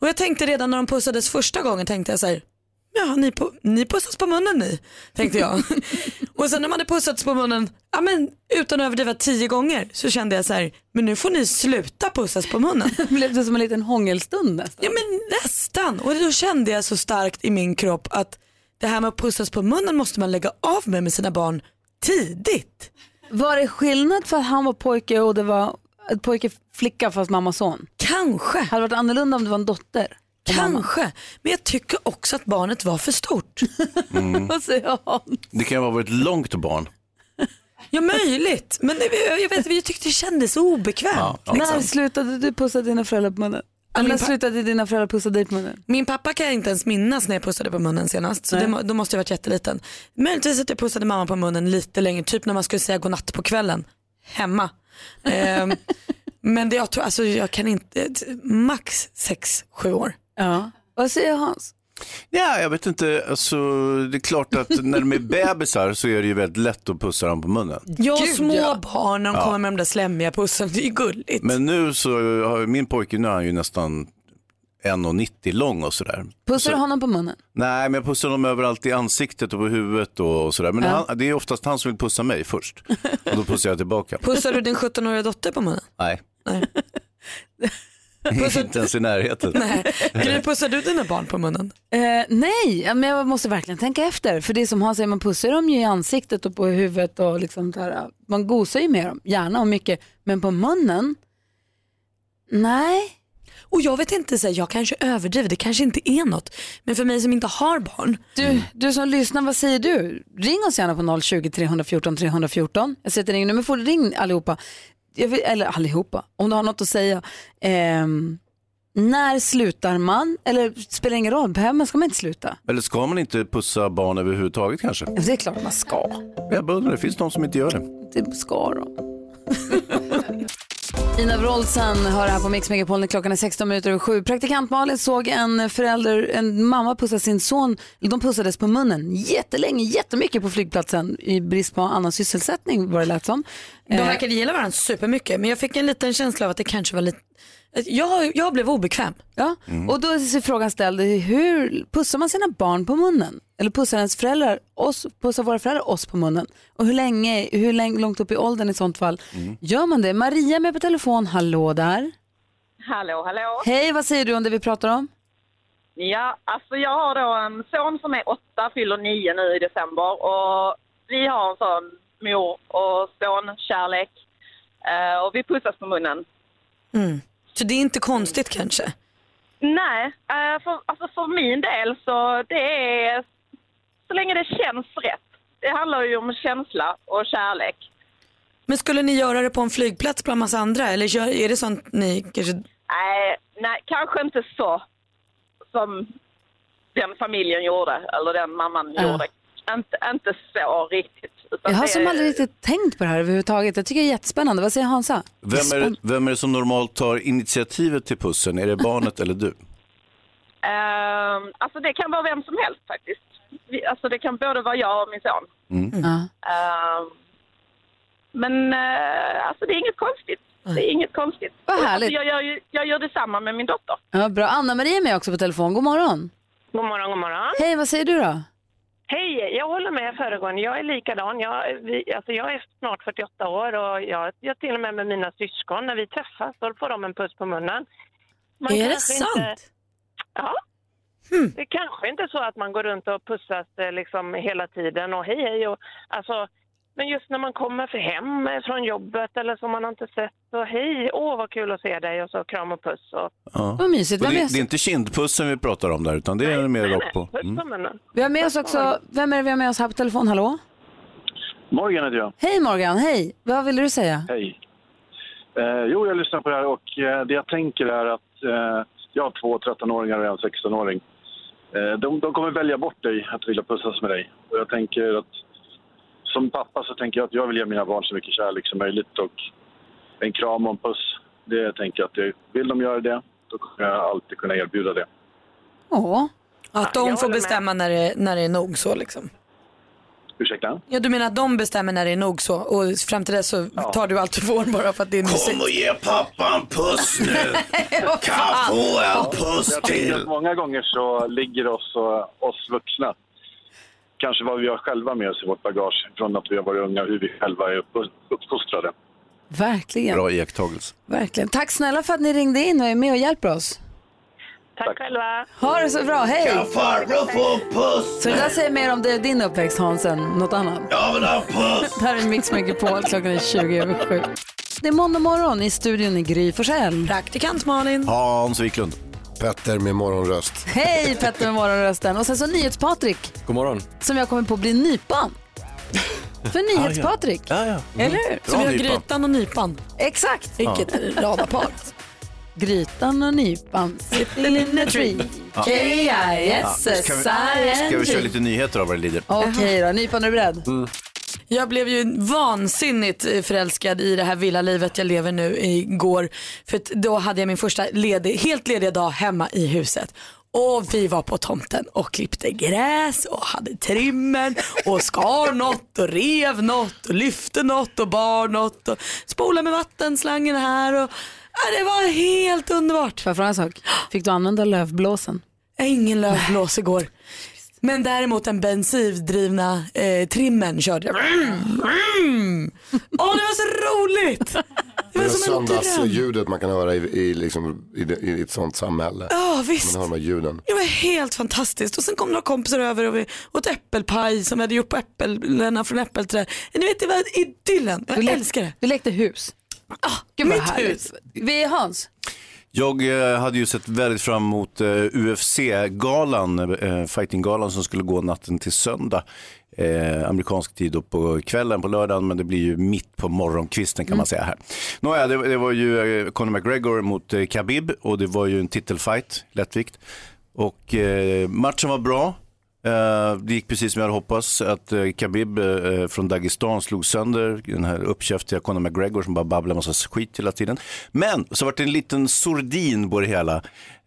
Och jag tänkte redan när de pussades första gången tänkte jag så här, ja ni, pu- ni pussas på munnen ni, tänkte jag. och sen när man hade pussats på munnen, ja men utan att överdriva tio gånger så kände jag så här, men nu får ni sluta pussas på munnen. Blev det som en liten hångelstund nästan? Ja men nästan, och då kände jag så starkt i min kropp att det här med att pussas på munnen måste man lägga av med med sina barn tidigt. Var det skillnad för att han var pojke och det var ett pojke flicka fast mamma son? Kanske. Hade det varit annorlunda om det var en dotter? Kanske, men jag tycker också att barnet var för stort. Mm. Vad säger han? Det kan ju ha varit ett långt barn. Ja möjligt, men det- jag, vet, jag tyckte det kändes obekvämt. När liksom. slutade du pussa dina föräldrar på munnen? Ja, min När pa- slutade dina föräldrar pussa dig på munnen? Min pappa kan jag inte ens minnas när jag pussade på munnen senast. Så Nej. det, må- då måste jag varit jätteliten. Möjligtvis att jag pussade mamma på munnen lite längre, typ när man skulle säga godnatt på kvällen. Hemma. Ehm, men det, jag tror, alltså jag kan inte, max sex sju år. Ja. Vad säger Hans? Ja, jag vet inte. Alltså, det är klart att när de är bebisar så är det ju väldigt lätt att pussa dem på munnen. Jag och små barn när de Ja. kommer med de där slemmiga pussen, det är ju gulligt. Men nu så har ju min pojke, nu är han ju nästan 1,90 lång och sådär. Pussar du honom på munnen? Nej, men jag pussar dem överallt i ansiktet och på huvudet och, och sådär. Men Ja. han, det är oftast han som vill pussa mig först. Och då pussar jag tillbaka. Pussar du din 17-åriga dotter på munnen? Nej. Nej. Inte ens i närheten. Gry, pussar du dina barn på munnen? Eh, nej, ja, men jag måste verkligen tänka efter. För det är som han säger, man pussar dem ju i ansiktet och på huvudet och liksom där, man gosar ju med dem, gärna och mycket. Men på munnen, nej. Och jag vet inte, så här, jag kanske överdriver, det kanske inte är något. Men för mig som inte har barn. Du, du som lyssnar, vad säger du? Ring oss gärna på 020 314 314. Jag sätter ingen nummer, får du ring allihopa. Jag vill, eller allihopa, om du har något att säga. Ehm, när slutar man? Eller spelar ingen roll, behöver man, ska man inte sluta? Eller ska man inte pussa barn överhuvudtaget kanske? Det är klart man ska. Jag bara undrar, det finns de som inte gör det. Det ska de. Ina Wroldsen hör här på Mix Megapol när klockan är 16 minuter över sju. Praktikant Malin såg en förälder, en mamma pussa sin son. De pussades på munnen jättelänge, jättemycket på flygplatsen i brist på annan sysselsättning var det lät som. De Eh, verkade gilla varandra supermycket men jag fick en liten känsla av att det kanske var lite, att jag, jag blev obekväm. Ja, och då är frågan ställd, hur pussar man sina barn på munnen? Eller pussar ens föräldrar oss, pussar våra föräldrar oss på munnen? Och hur länge, hur länge, långt upp i åldern i sånt fall, gör man det? Maria är med på telefon, hallå där. Hallå, hallå. Hej, vad säger du om det vi pratar om? Ja, alltså jag har då en son som är åtta, fyller nio nu i december och vi har en sån mor och son-kärlek Eh, och vi pussas på munnen. Mm. Så det är inte konstigt kanske? Nej, eh, för, alltså för min del så det är så länge det känns rätt. Det handlar ju om känsla och kärlek. Men skulle ni göra det på en flygplats bland massa andra eller gör, är det sånt ni kanske... Nej, nej, kanske inte så som den familjen gjorde, eller den mamman Ja. gjorde. Inte, inte så riktigt. utan Jag har det- som aldrig riktigt tänkt på det här överhuvudtaget. Jag tycker det är jättespännande. Vad säger Hansa? Vem är, vem är det som normalt tar initiativet till pussen? Är det barnet eller du? Ehm, alltså det kan vara vem som helst faktiskt. Vi, alltså det kan både vara jag och min son. Mm. Ehm, men eh, alltså det är inget konstigt. Det är inget konstigt. Vad Och, härligt. Alltså jag, gör, ju- jag gör detsamma med min dotter. Ja, bra. Anna-Maria är med också på telefon. God morgon. God morgon, god morgon. Hej, vad säger du då? Hej, jag håller med föregående. Jag är likadan. Jag, vi, alltså jag är snart 48 år och jag, jag till och med med mina syskon, när vi träffas, då får de en puss på munnen. Är det kanske sant? Hmm. ja. Det kanske inte är så att man går runt och pussas eh, liksom hela tiden och hej, hej. Och, alltså, men just när man kommer för hem eh, från jobbet eller som man har inte sett, så hej, åh vad kul att se dig och så kram och puss. Och, Ja. Vad mysigt. Och Vem Det, är- det är inte kindpussen vi pratar om där, utan det är mer rakt på. puss Mm. på munnen. Vi har med oss också, vem är det vi har med oss här på telefon? Hallå? Morgan heter jag. Hej Morgan, hej. Vad ville du säga? Hej. Eh, jo, jag lyssnar på det här och eh, det jag tänker är att eh, jag har två 13-åringar och en 16-åring. Eh, de, de kommer välja bort dig att vilja pussas med dig. Och jag tänker att som pappa så tänker jag att jag vill ge mina barn så mycket kärlek som möjligt och en kram och en puss. Det tänker jag att det, vill de göra det, då kommer jag alltid kunna erbjuda det. Åh. Att de får bestämma när det, när det är nog så liksom? Ursäkta? Ja, du menar att de bestämmer när det är nog så och fram till dess så tar du allt du får bara för att det är mysigt? och ge pappa en puss nu! Kan få en puss till! Många gånger så ligger oss, och, oss vuxna, kanske vad vi har själva med oss i vårt bagage från att vi har varit unga, hur vi själva är upp, uppfostrade. Verkligen. Bra iakttagelse. Verkligen. Tack snälla för att ni ringde in och är med och hjälper oss. Tack, själva. Ha det så bra, hej! Kan farbror få en Så det där säger mer om det, din uppväxt Hansen, något annat? Jag vill ha en puss! det här är Mix Megapol, klockan är 20 över 7. Det är måndag morgon i studion i Gry Forssell. Praktikant Malin. Hans Wiklund. Petter med morgonröst. Hej Petter med morgonrösten. Och sen så NyhetsPatrik, God morgon. som jag kommer på blir nypan. För NyhetsPatrik. Ah, Ja, ja. Eller hur? Så vi har grytan och nypan. Exakt. Vilket ja. radarpar. Grytan och nypan sitting in a tree. Ja. K-I-S-S-I-N-G. Ska vi- Ska vi köra lite Mm. nyheter av vad det lider? Okej då, Nypan är du beredd? Jag blev ju vansinnigt eh, förälskad i det här villalivet jag lever nu igår. För att då hade jag min första ledig, helt lediga dag hemma i huset. Och vi var på tomten och klippte gräs och hade trimmen och skar något och rev något och lyfte något och bar något och spolade med vattenslangen här. Och, ja, det var helt underbart. Får jag fråga en sak? Fick du använda lövblåsen? Ingen lövblås igår. Men däremot den bensindrivna eh, trimmen körde jag. Åh, det var så roligt! Det Det var är som en dröm. söndagsljudet man kan höra i, i, liksom, i, det- i ett sånt samhälle. Ja, visst. Man hör de här ljuden. Det var helt fantastiskt. Och sen kom några kompisar över och vi åt äppelpaj som vi hade gjort på äpplen från äppelträd. Ni vet, det var idyllen. Jag älskar det. Du lekte hus. Gud vad Mitt härligt. Ah, Vi är Hans. Jag eh, hade ju sett väldigt fram emot eh, UFC-galan, eh, fighting-galan som skulle gå natten till söndag. Eh, amerikansk tid då på kvällen på lördagen men det blir ju mitt på morgonkvisten kan man säga här. Nåja, det, det var ju eh, Conor McGregor mot eh, Khabib och det var ju en titelfight, lättvikt. Och eh, matchen var bra. Eh, det gick precis som jag hade hoppats att eh, Khabib eh, från Dagestan slog sönder den här uppkäftiga Conor McGregor som bara babblar massa skit hela tiden. Men så vart det en liten sordin på det hela.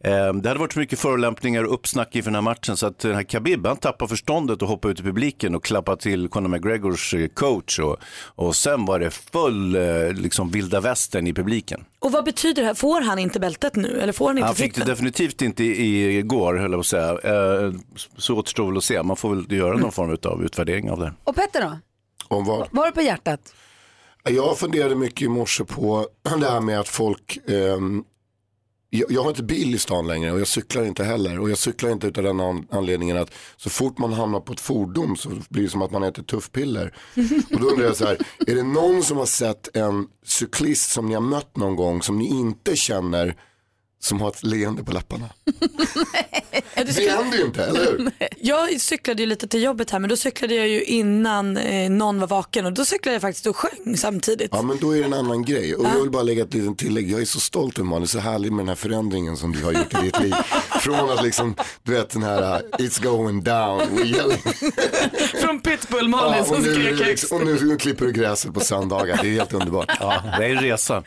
Eh, det hade varit så mycket förolämpningar och uppsnack inför den här matchen så att den här Khabib han tappade förståndet och hoppade ut i publiken och klappade till Conor McGregors eh, coach och, och sen var det full eh, liksom vilda västern i publiken. Och vad betyder det här? Får han inte bältet nu? Eller får han inte Han fick det titeln? definitivt inte i- igår, höll jag på att säga. Eh, Så återstår väl att se. Man får väl göra någon form av utvärdering av det. Och Petter då? Om vad? Vad har du på hjärtat? Jag funderade mycket i morse på det här med att folk ehm, jag, jag har inte bil i stan längre och jag cyklar inte heller. Och jag cyklar inte utav den an- anledningen att så fort man hamnar på ett fordon så blir det som att man äter tuffpiller. Och då undrar jag så här, är det någon som har sett en cyklist som ni har mött någon gång som ni inte känner som har ett leende på läpparna? Det händer ju inte, eller hur? Jag cyklade ju lite till jobbet här men då cyklade jag ju innan eh, någon var vaken och då cyklade jag faktiskt och sjöng samtidigt. Ja men då är det en annan grej. Och jag vill bara lägga ett litet tillägg. Jag är så stolt över Malin, så härlig med den här förändringen som du har gjort i ditt liv. Från att liksom, du vet den här uh, it's going down, we're yelling. Från Pitbull Ja, och, nu, är det liksom, och nu klipper du gräset på söndagar, det är helt underbart. Ja, det är en resa.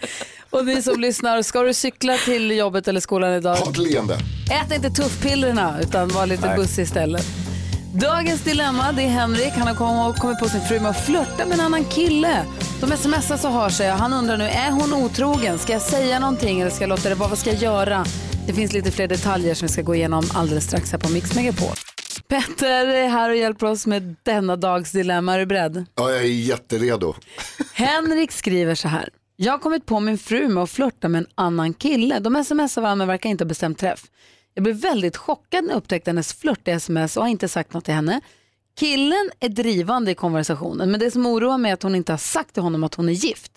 Och ni som lyssnar, ska du cykla till jobbet eller skolan idag? Ha ett leende. Ät inte tuffpillerna utan var lite Nej. bussig istället. Dagens dilemma, det är Henrik. Han har kom- kommit på sin fru med att flörta med en annan kille. De smsar så hör sig och han undrar nu, är hon otrogen? Ska jag säga någonting eller ska jag låta det vara? Vad ska jag göra? Det finns lite fler detaljer som vi ska gå igenom alldeles strax här på Mix Megapol. Petter är här och hjälper oss med denna dags dilemma. Är du beredd? Ja, jag är jätteredo. Henrik skriver så här. Jag har kommit på min fru med att flörta med en annan kille. De smsar varandra men verkar inte ha bestämt träff. Jag blev väldigt chockad när jag upptäckte hennes flörtiga sms och har inte sagt något till henne. Killen är drivande i konversationen men det som oroar mig är att hon inte har sagt till honom att hon är gift.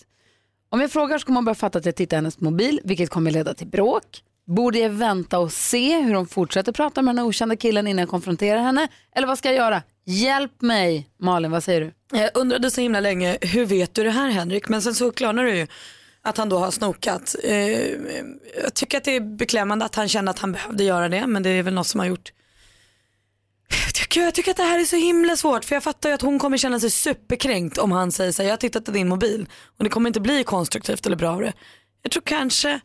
Om jag frågar så kommer hon börja fatta att jag tittar i hennes mobil, vilket kommer leda till bråk. Borde jag vänta och se hur hon fortsätter prata med den här okända killen innan jag konfronterar henne? Eller vad ska jag göra? Hjälp mig! Malin, vad säger du? Jag undrade så himla länge, hur vet du det här Henrik? Men sen så klarnar det ju att han då har snokat. Eh, jag tycker att det är beklämmande att han kände att han behövde göra det, men det är väl något som har gjort jag tycker, jag tycker att det här är så himla svårt för jag fattar ju att hon kommer känna sig superkränkt om han säger så här, jag har tittat i din mobil och det kommer inte bli konstruktivt eller bra av det. Jag tror kanske,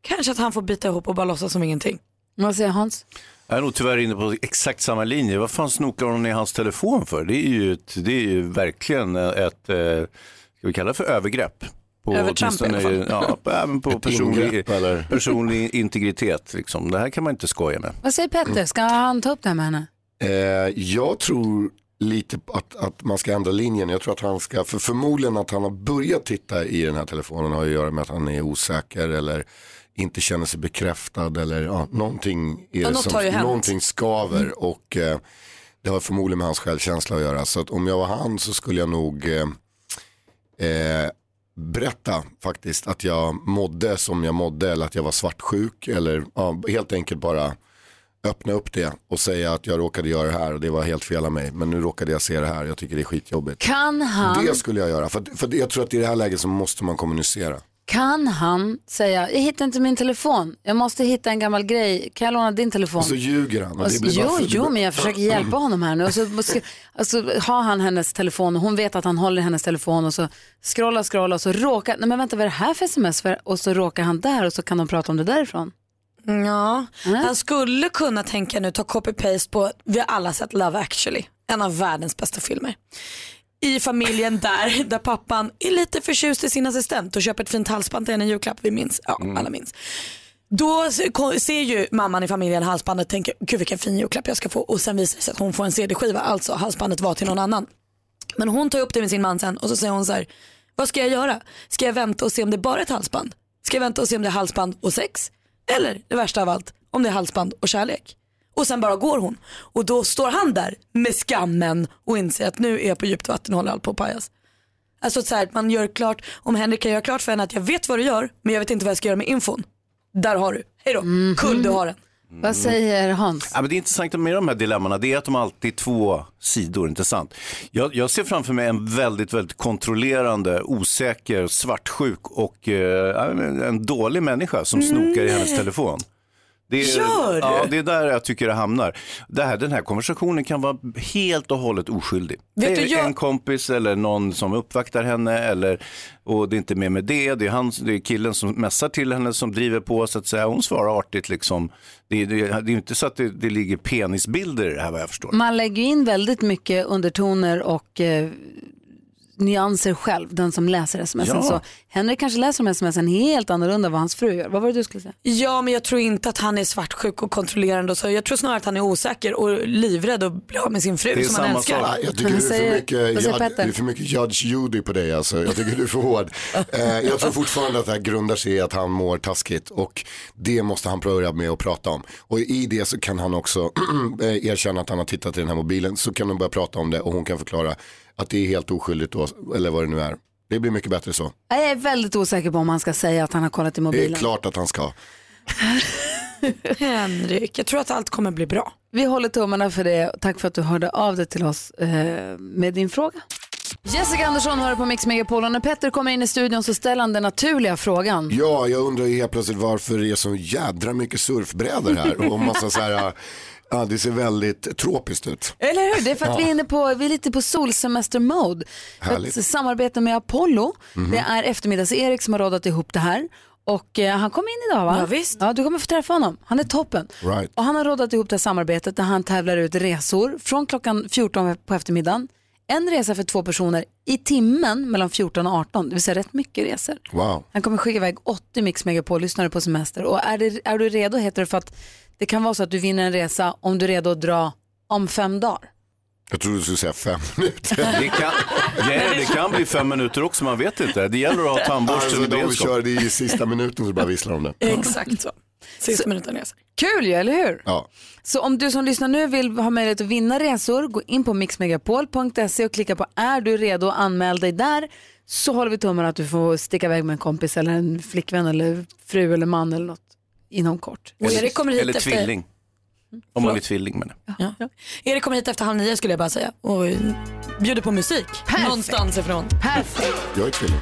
kanske att han får bita ihop och bara låtsas som ingenting. Vad säger Hans? Jag är nog tyvärr inne på exakt samma linje. Vad fan snokar hon i hans telefon för? Det är ju, ett, det är ju verkligen ett, eh, ska vi kalla det för övergrepp? På, Övertramp i alla fall. åtminstone- Ja, på- även på Ett personlig, ingrepp, eller? personlig integritet. Liksom. Det här kan man inte skoja med. Vad säger Petter? Ska han ta upp det här med henne? Eh, jag tror lite på att, att man ska ändra linjen. Jag tror att han ska, för förmodligen att han har börjat titta i den här telefonen har ju att göra med att han är osäker eller inte känner sig bekräftad eller ja, någonting, är Ja, det något har ju hänt. som, Mm. någonting skaver och eh, det har förmodligen med hans självkänsla att göra. Så att om jag var han så skulle jag nog eh, eh, berätta faktiskt att jag mådde som jag mådde eller att jag var svartsjuk eller ja, helt enkelt bara öppna upp det och säga att jag råkade göra det här och det var helt fel av mig men nu råkade jag se det här jag tycker det är skitjobbigt. Kan han, Det skulle jag göra för, att- för att jag tror att i det här läget så måste man kommunicera. kan han säga, jag hittar inte min telefon, jag måste hitta en gammal grej, kan jag låna din telefon? Och så ljuger han. Och Och Alltså, det så- blir bara Alltså, jo, för- jo, men jag försöker hjälpa honom här nu. Och så, måste- alltså, har han hennes telefon och hon vet att han håller i hennes telefon och så scrollar, scrollar och så råkar, nej men vänta vad är det här för sms för? Och så råkar han där och så kan de prata om det därifrån. Ja, han skulle kunna tänka nu ta copy-paste på, vi har alla sett Love actually, en av världens bästa filmer. I familjen där, där pappan är lite förtjust i sin assistent och köper ett fint halsband till henne i julklapp, vi minns, ja alla minns. Då se- ko- ser ju mamman i familjen halsbandet och tänker, gud vilken fin julklapp jag ska få och sen visar det sig att hon får en CD-skiva, alltså halsbandet var till någon annan. Men hon tar upp det med sin man sen och så säger hon så här, vad ska jag göra? Ska jag vänta och se om det är bara är ett halsband? Ska jag vänta och se om det är halsband och sex? Eller det värsta av allt, om det är halsband och kärlek? Och sen bara går hon. Och då står han där med skammen och inser att nu är jag på djupt vatten och håller allt på att pajas. Alltså så här, att man gör klart, om Henrik kan göra klart för henne att jag vet vad du gör men jag vet inte vad jag ska göra med infon. Där har du, hej då, kul du har den. Mm. Vad säger Hans? Ja, men det intressanta med de här dilemmana det är att de alltid är två sidor, inte sant? Jag, jag ser framför mig en väldigt, väldigt kontrollerande, osäker, svartsjuk och eh, en- en dålig människa som Mm. snokar i hennes telefon. Det är, Gör du? Ja, det är där jag tycker det hamnar. Det här, den här konversationen kan vara helt och hållet oskyldig. Vet det är du, jag- en kompis eller någon som uppvaktar henne eller, och det är inte mer med det. Det är, han, det är killen som messar till henne som driver på så att säga. Hon svarar artigt liksom. Det, är- det, är- det är ju inte så att det, det ligger Mm. penisbilder i det här vad jag förstår. Man lägger ju in väldigt mycket undertoner och eh, nyanser själv, den som läser smsen. Ja. Så Henrik kanske läser de smsen helt annorlunda än vad hans fru gör. Vad var det du skulle säga? Ja, men jag tror inte att han är svartsjuk och kontrollerande. Och så. Jag tror snarare att han är osäker och livrädd och blir av med sin fru som han älskar. Nej, Jag tycker du är, för mycket, jud, du är för mycket Judge Judy på dig alltså. Jag tycker du är för hård. Eh, jag tror fortfarande att det här grundar sig i att han mår taskigt och det måste han börja med att prata om. Och i det så kan han också eh, erkänna att han har tittat i den här mobilen. Så kan de börja prata om det och hon kan förklara att det är helt oskyldigt då, eller vad det nu är. Det blir mycket bättre så. Nej, Jag är väldigt osäker på om han ska säga att han har kollat i mobilen. Det är klart att han ska. Henrik, jag tror att allt kommer bli bra. Vi håller tummarna för det. Tack för att du hörde av dig till oss eh, med din fråga. Jessica Andersson hör på Mix Megapol och när Petter kommer in i studion så ställer han den naturliga frågan. Ja, jag undrar ju helt plötsligt varför det är så jädra mycket surfbrädor här och massa så här, ja det ser väldigt tropiskt ut. Eller hur? Det är för att Ja. vi, är inne på, vi är lite på solsemester-mode. För att Härligt. Samarbete med Apollo. Mhm. Det är eftermiddags-Erik som har rådat ihop det här. Och eh, han kom in idag va? Ja, Ja, du kommer få träffa honom. Han är toppen. Right. Och han har rådat ihop det här samarbetet där han tävlar ut resor från klockan 14 på eftermiddagen. En resa för två personer i timmen mellan 14 och 18, det vill säga rätt mycket resor. Wow. Han kommer skicka iväg 80 Mix Megapol-lyssnare på semester. Och är, det, är du redo heter det för att det kan vara så att du vinner en resa om du är redo att dra om fem dagar. Jag trodde du skulle säga fem minuter. Det kan, ja, det kan bli fem minuter också, man vet inte. Det gäller att ha tandborsten Alltså, i de beredskap. kör det i sista minuten så bara visslar de det. Exakt så. Sista minuten resa. Kul ju, eller hur? Ja. Så om du som lyssnar nu vill ha möjlighet att vinna resor, gå in på mixmegapol.se och klicka på är du redo och anmäl dig där. Så håller vi tummarna att du får sticka iväg med en kompis eller en flickvän eller fru eller man eller något inom kort. Erik kommer hit Eller efter- tvilling. Om man är tvilling men. Erik kommer hit efter halv nio skulle jag bara säga och bjuder på musik någonstans ifrån. Perfekt. Jag är tvilling.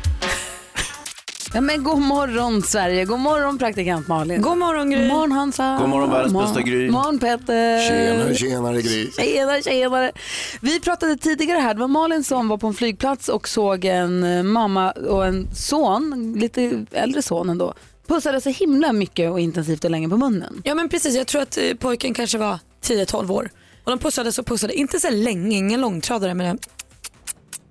Ja, men god morgon Sverige, god morgon praktikant Malin. God morgon Eh, Gry. God morgon Hansa. God morgon, världens bästa Gry. God morgon Petter. Tjenare, tjenare Gry. Tjenare, tjenare. Vi pratade tidigare här, det var Malin som var på en flygplats och såg en eh, mamma och en son, lite äldre son ändå, pussade så himla mycket och intensivt och länge på munnen. Ja men precis, jag tror att eh, pojken kanske var 10-12 år. Och de pussades och pussade, inte så länge, ingen långtradare men en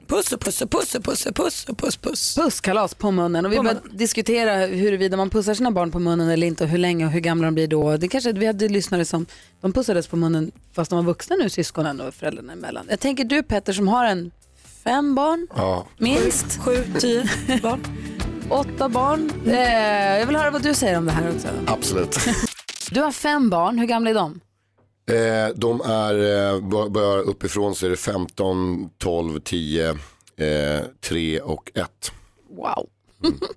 puss och puss och puss och puss och puss och puss. puss. Pusskalas på munnen och vi På började diskutera huruvida man pussar sina barn på munnen eller inte och hur länge och hur gamla de blir då. Det kanske, vi hade lyssnare som de pussades på munnen fast de var vuxna nu, syskonen och föräldrarna emellan. Jag tänker du Petter som har en fem barn, Ja. minst. Sju, tio barn. Åtta barn. Eh, jag vill höra vad du säger om det här också. Absolut. Du har fem barn, hur gamla är de? Eh, de är, eh, bör- börjar uppifrån så är det 15, 12, 10, eh, 3 och 1. Wow.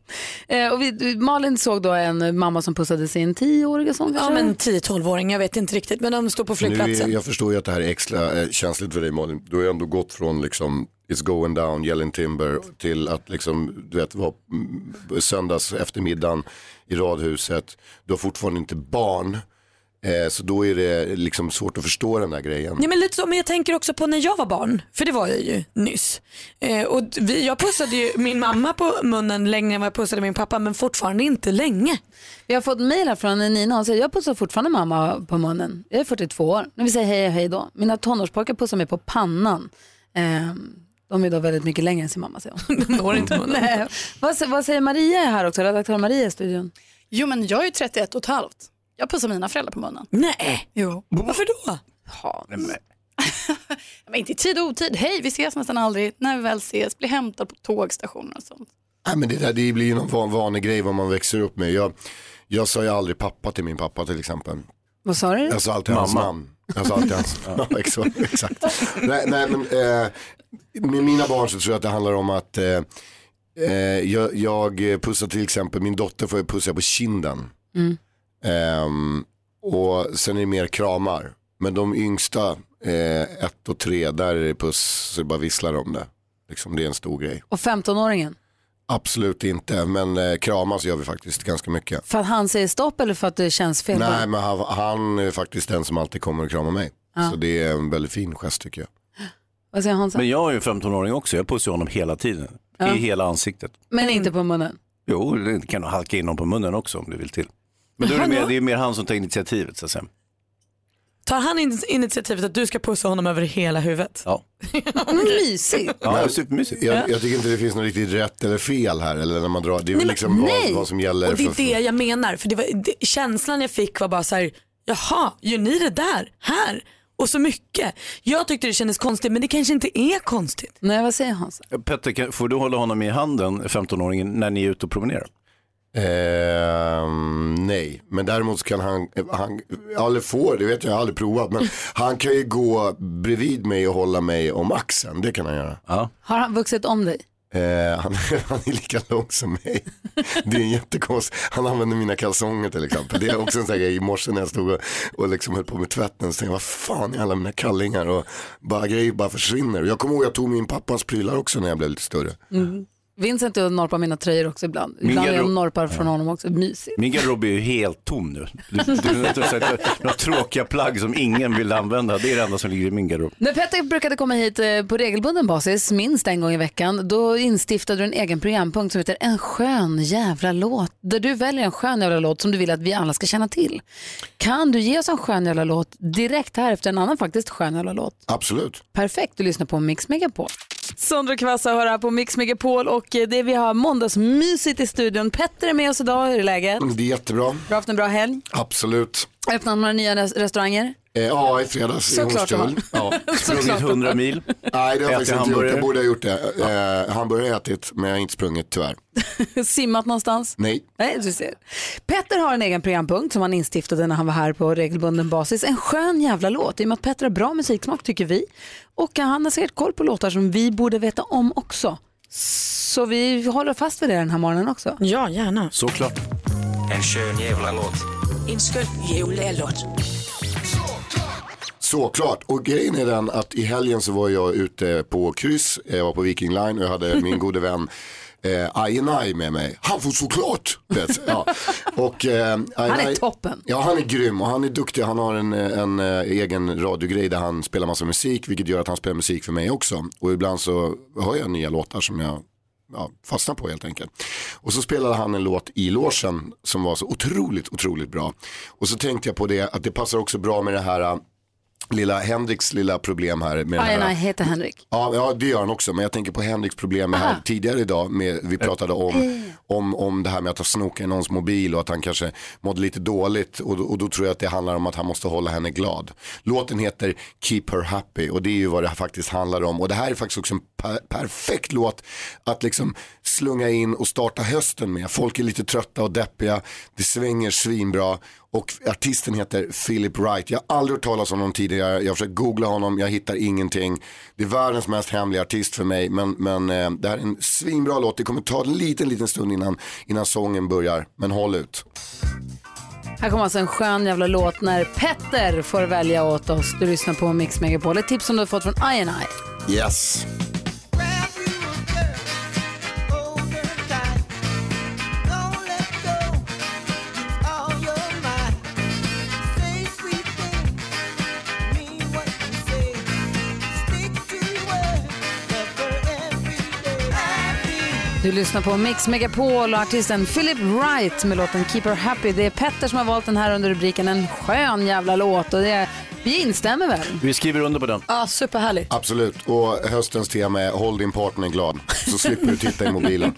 Eh, och vi, du- Malin såg då en mamma som pussade sin tioåriga son Ja kanske? men 10-12-åring, jag vet inte riktigt men de står på Nu flygplatsen. är, jag förstår ju att det här är extra eh, känsligt för dig Malin. Du har ju ändå gått från liksom It's going down, Yelling Timber till att liksom, du vet, vara mm, söndags eftermiddagen i radhuset. Du har fortfarande inte barn. Eh, så då är det liksom svårt att förstå den där grejen. Ja, men lite så, men jag tänker också på när jag var barn, för det var jag ju nyss. Eh, och vi, jag pussade ju min mamma på munnen längre än vad jag pussade min pappa men fortfarande inte länge. Vi har fått mejl här från Nina, hon säger jag pussar fortfarande mamma på munnen. Jag är 42 år, när vi säger hej hej då. Mina tonårspojkar pussar mig på pannan. Eh, de är då väldigt mycket längre än sin mamma säger hon. de når inte munnen. Nej. Vad, sä- vad säger Maria här också, redaktör Maria i studion? Jo, men jag är ju 31 och ett halvt. Jag pussar mina föräldrar på munnen. Nej. Jo. Varför då? Men inte i tid och otid. Hej, vi ses nästan aldrig. När vi väl ses, blir hämtad på tågstationer och sånt. Nej, men det, där, det blir ju någon van, vanlig grej vad man växer upp med. Jag, jag sa ju aldrig pappa till min pappa till exempel. Vad sa du? Jag sa alltid hans Mamma. namn. Jag sa alltid hans ja. exakt. exakt. nej, nej, men, eh, med mina barn så tror jag att det handlar om att eh, eh, jag, jag pussar till exempel, min dotter får jag pussa på kinden. Mm. Ehm, och sen är det mer kramar. Men de yngsta, eh, ett och tre, där är det puss så det bara visslar om det. Liksom, det är en stor grej. Och 15-åringen? Absolut inte, men eh, kramas gör vi faktiskt ganska mycket. För att han säger stopp eller för att det känns fel? bara? Nej, men han, han är faktiskt den som alltid kommer och kramar mig. Ja. Så det är en väldigt fin gest tycker jag. Vad säger Hansa? Men jag är ju 15-åring också, jag pussar honom hela tiden. Ja. I hela ansiktet. Men inte på munnen? Jo, det kan du halka in honom på munnen också om du vill till. Men då är det, mer, det är mer han som tar initiativet så att säga. Tar han in- initiativet att du ska pussa honom över hela huvudet? Ja. Mysigt. Men Jag, jag tycker inte det finns något riktigt rätt eller fel här. Eller när man drar, det är väl liksom vad, vad som gäller. Och det är för, det jag menar. För det var, det, känslan jag fick var bara så här, jaha, gör ni det där, här? Och så mycket. Jag tyckte det kändes konstigt men det kanske inte är konstigt. Nej, vad säger Hans? Petter, kan- får du hålla honom i handen, 15-åringen, när ni är ute och promenerar? Ehm, nej, men däremot så kan han, han, eller får, det vet jag, jag har aldrig provat, men han kan ju gå bredvid mig och hålla mig om axeln, det kan han göra. Har han vuxit om dig? Eh, han, han är lika lång som mig. Det är en jättekonst. Han använder mina kalsonger till exempel. Det är också en sån här grej. I morse när jag stod och, och liksom höll på med tvätten så tänkte jag, vad fan är alla mina kallingar? Och bara, grejer bara försvinner. Och Jag kommer ihåg jag tog min pappas prylar också när jag blev lite större. Mm. Vincent och jag norpar mina tröjor också ibland. Min Ibland är jag garderob- norpar från honom också. Mysigt. Min garderob är ju helt tom nu. Det, det, det, några tråkiga plagg som ingen vill använda, det är det enda som ligger i min garderob. När Petter brukade komma hit eh, på regelbunden basis, minst en gång i veckan, då instiftade du en egen programpunkt som heter En skön jävla låt. Där du väljer en skön jävla låt som du vill att vi alla ska känna till. Kan du ge oss en skön jävla låt direkt här efter en annan faktiskt skön jävla låt? Absolut. Perfekt, du lyssnar på Mix Megapol. Sandra Kvassa hör här på Mix Megapol och eh, det vi har måndagsmysigt i studion. Petter är med oss idag, hur är läget? Mm, Det är jättebra. Du har haft en bra helg? Absolut. Har Öppnat några nya res- restauranger? Eh, ja, i fredags i Såklart det var. Hornstull. Ja. Såklart det var. 100 mil. Nej, det har jag Ätit faktiskt inte gjort. hamburgare. Jag borde ha gjort det. Eh, hamburgare har jag ätit, men jag har inte sprungit tyvärr. Simmat någonstans? Nej. Nej, du ser. Petter har en egen programpunkt som han instiftade när han var här på regelbunden basis. En skön jävla låt. I och med att Petter har bra musiksmak tycker vi. Och han har säkert koll på låtar som vi borde veta om också. Så vi håller fast vid det den här morgonen också. Ja, gärna. Såklart. En skön jävla låt. En skön jävla låt. Såklart, och grejen är den att i helgen så var jag ute på kryss, jag var på Viking Line och jag hade min gode vän eh, Ajenaj med mig. Han får såklart! Vet, ja. och, eh, Ajenaj- toppen. Ja, han är grym och han är duktig. Han har en, eh, en eh, egen radiogrej där han spelar massa musik, vilket gör att han spelar musik för mig också. Och ibland så hör jag nya låtar som jag ja, fastnar på helt enkelt. Och så spelade han en låt i låsen som var så otroligt, otroligt bra. Och så tänkte jag på det, att det passar också bra med det här eh, lilla Henriks lilla problem här. Med den Ajen här, Aj heter Henrik. Ja, ja, det gör han också. Men jag tänker på Henriks problem med här Aha. tidigare idag. Med, vi pratade om, om, om det här med att ha snokat i någons mobil och att han kanske mådde lite dåligt. Och, då- och då tror jag att det handlar om att han måste hålla henne glad. Låten heter Keep Her Happy och det är ju vad det här faktiskt handlar om. Och det här är faktiskt också en per- perfekt låt att liksom slunga in och starta hösten med. Folk är lite trötta och deppiga. Det svänger svinbra. Och artisten heter Philip Wright. Jag har aldrig hört talas om honom tidigare. Jag har försökt googla honom, jag hittar ingenting. Det är världens mest hemliga artist för mig. Men, men eh, det här är en svinbra låt. Det kommer ta en liten, liten stund innan, innan sången börjar. Men håll ut. Här kommer alltså en skön jävla låt när Petter får välja åt oss. Du lyssnar på Mix Megapol. Ett tips som du har fått från Ajen Aj. Yes. Du lyssnar på Mix Megapol och artisten Philip Wright med låten Keep Her Happy. Det är Petter som har valt den här under rubriken En skön jävla låt och det är, vi instämmer väl? Vi skriver under på den. Ja, superhärligt. Absolut. Och höstens tema är håll din partner glad. Så slipper du titta i mobilen.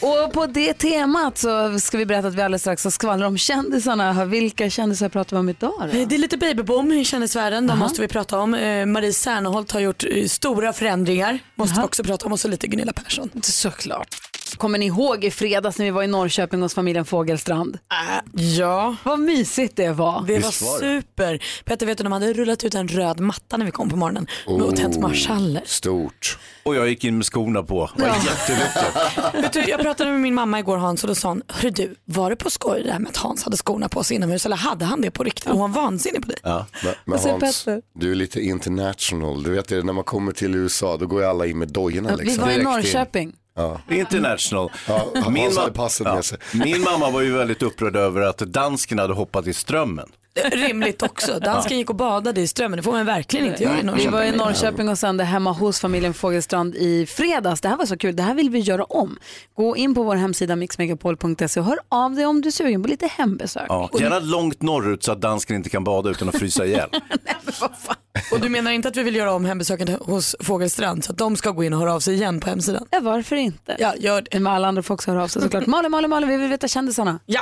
Och på det temat så ska vi berätta att vi alldeles strax ska skvallra om kändisarna. Vilka kändisar pratar vi om idag då? Det är lite babyboom i kändisvärlden, de måste vi prata om. Eh, Marie Serneholt har gjort eh, stora förändringar, måste vi också prata om. Och så lite Gunilla Persson. Såklart. Kommer ni ihåg i fredags när vi var i Norrköping hos familjen Fågelstrand? Eh, ja. Vad mysigt det var. Det var super. Petter vet du, de hade rullat ut en röd matta när vi kom på morgonen med och tänt marschaller. Oh, Stort. Och jag gick in med skorna på. Det var jätteläckert. Vet du, jag pratade med min mamma igår Hans och då sa hon, hörru du, var det på skoj det här med att Hans hade skorna på sig inomhus eller hade han det på riktigt? Hon var vansinnig på dig. Ja. Men, men Vad Alltså, säger Hans, Petter? du är lite international. Du vet, det, när man kommer till USA då går ju alla in med dojorna. Vi var Liksom. i Direkt in. Norrköping. Ja. International. Hans ma- hade passet med sig. Min mamma var ju väldigt upprörd över att dansken hade hoppat i strömmen. Rimligt också. Dansken gick och badade i Strömmen. Det får man verkligen inte göra i Vi Norrköping. var i Norrköping och sände hemma hos familjen Fogelstrand i fredags. Det här var så kul. Det här vill vi göra om. Gå in på vår hemsida mixmegapol.se och hör av dig om du är sugen på lite hembesök. Ja, Och- gärna långt norrut så att dansken inte kan bada utan att frysa ihjäl. Och du menar inte att vi vill göra om hembesöket hos Fågelstrand så att de ska gå in och höra av sig igen på hemsidan? Ja, varför inte? Ja, gör det. Med alla andra folk som hör av sig såklart. Malin, Malin, Malin, vi vill veta kändisarna. Ja.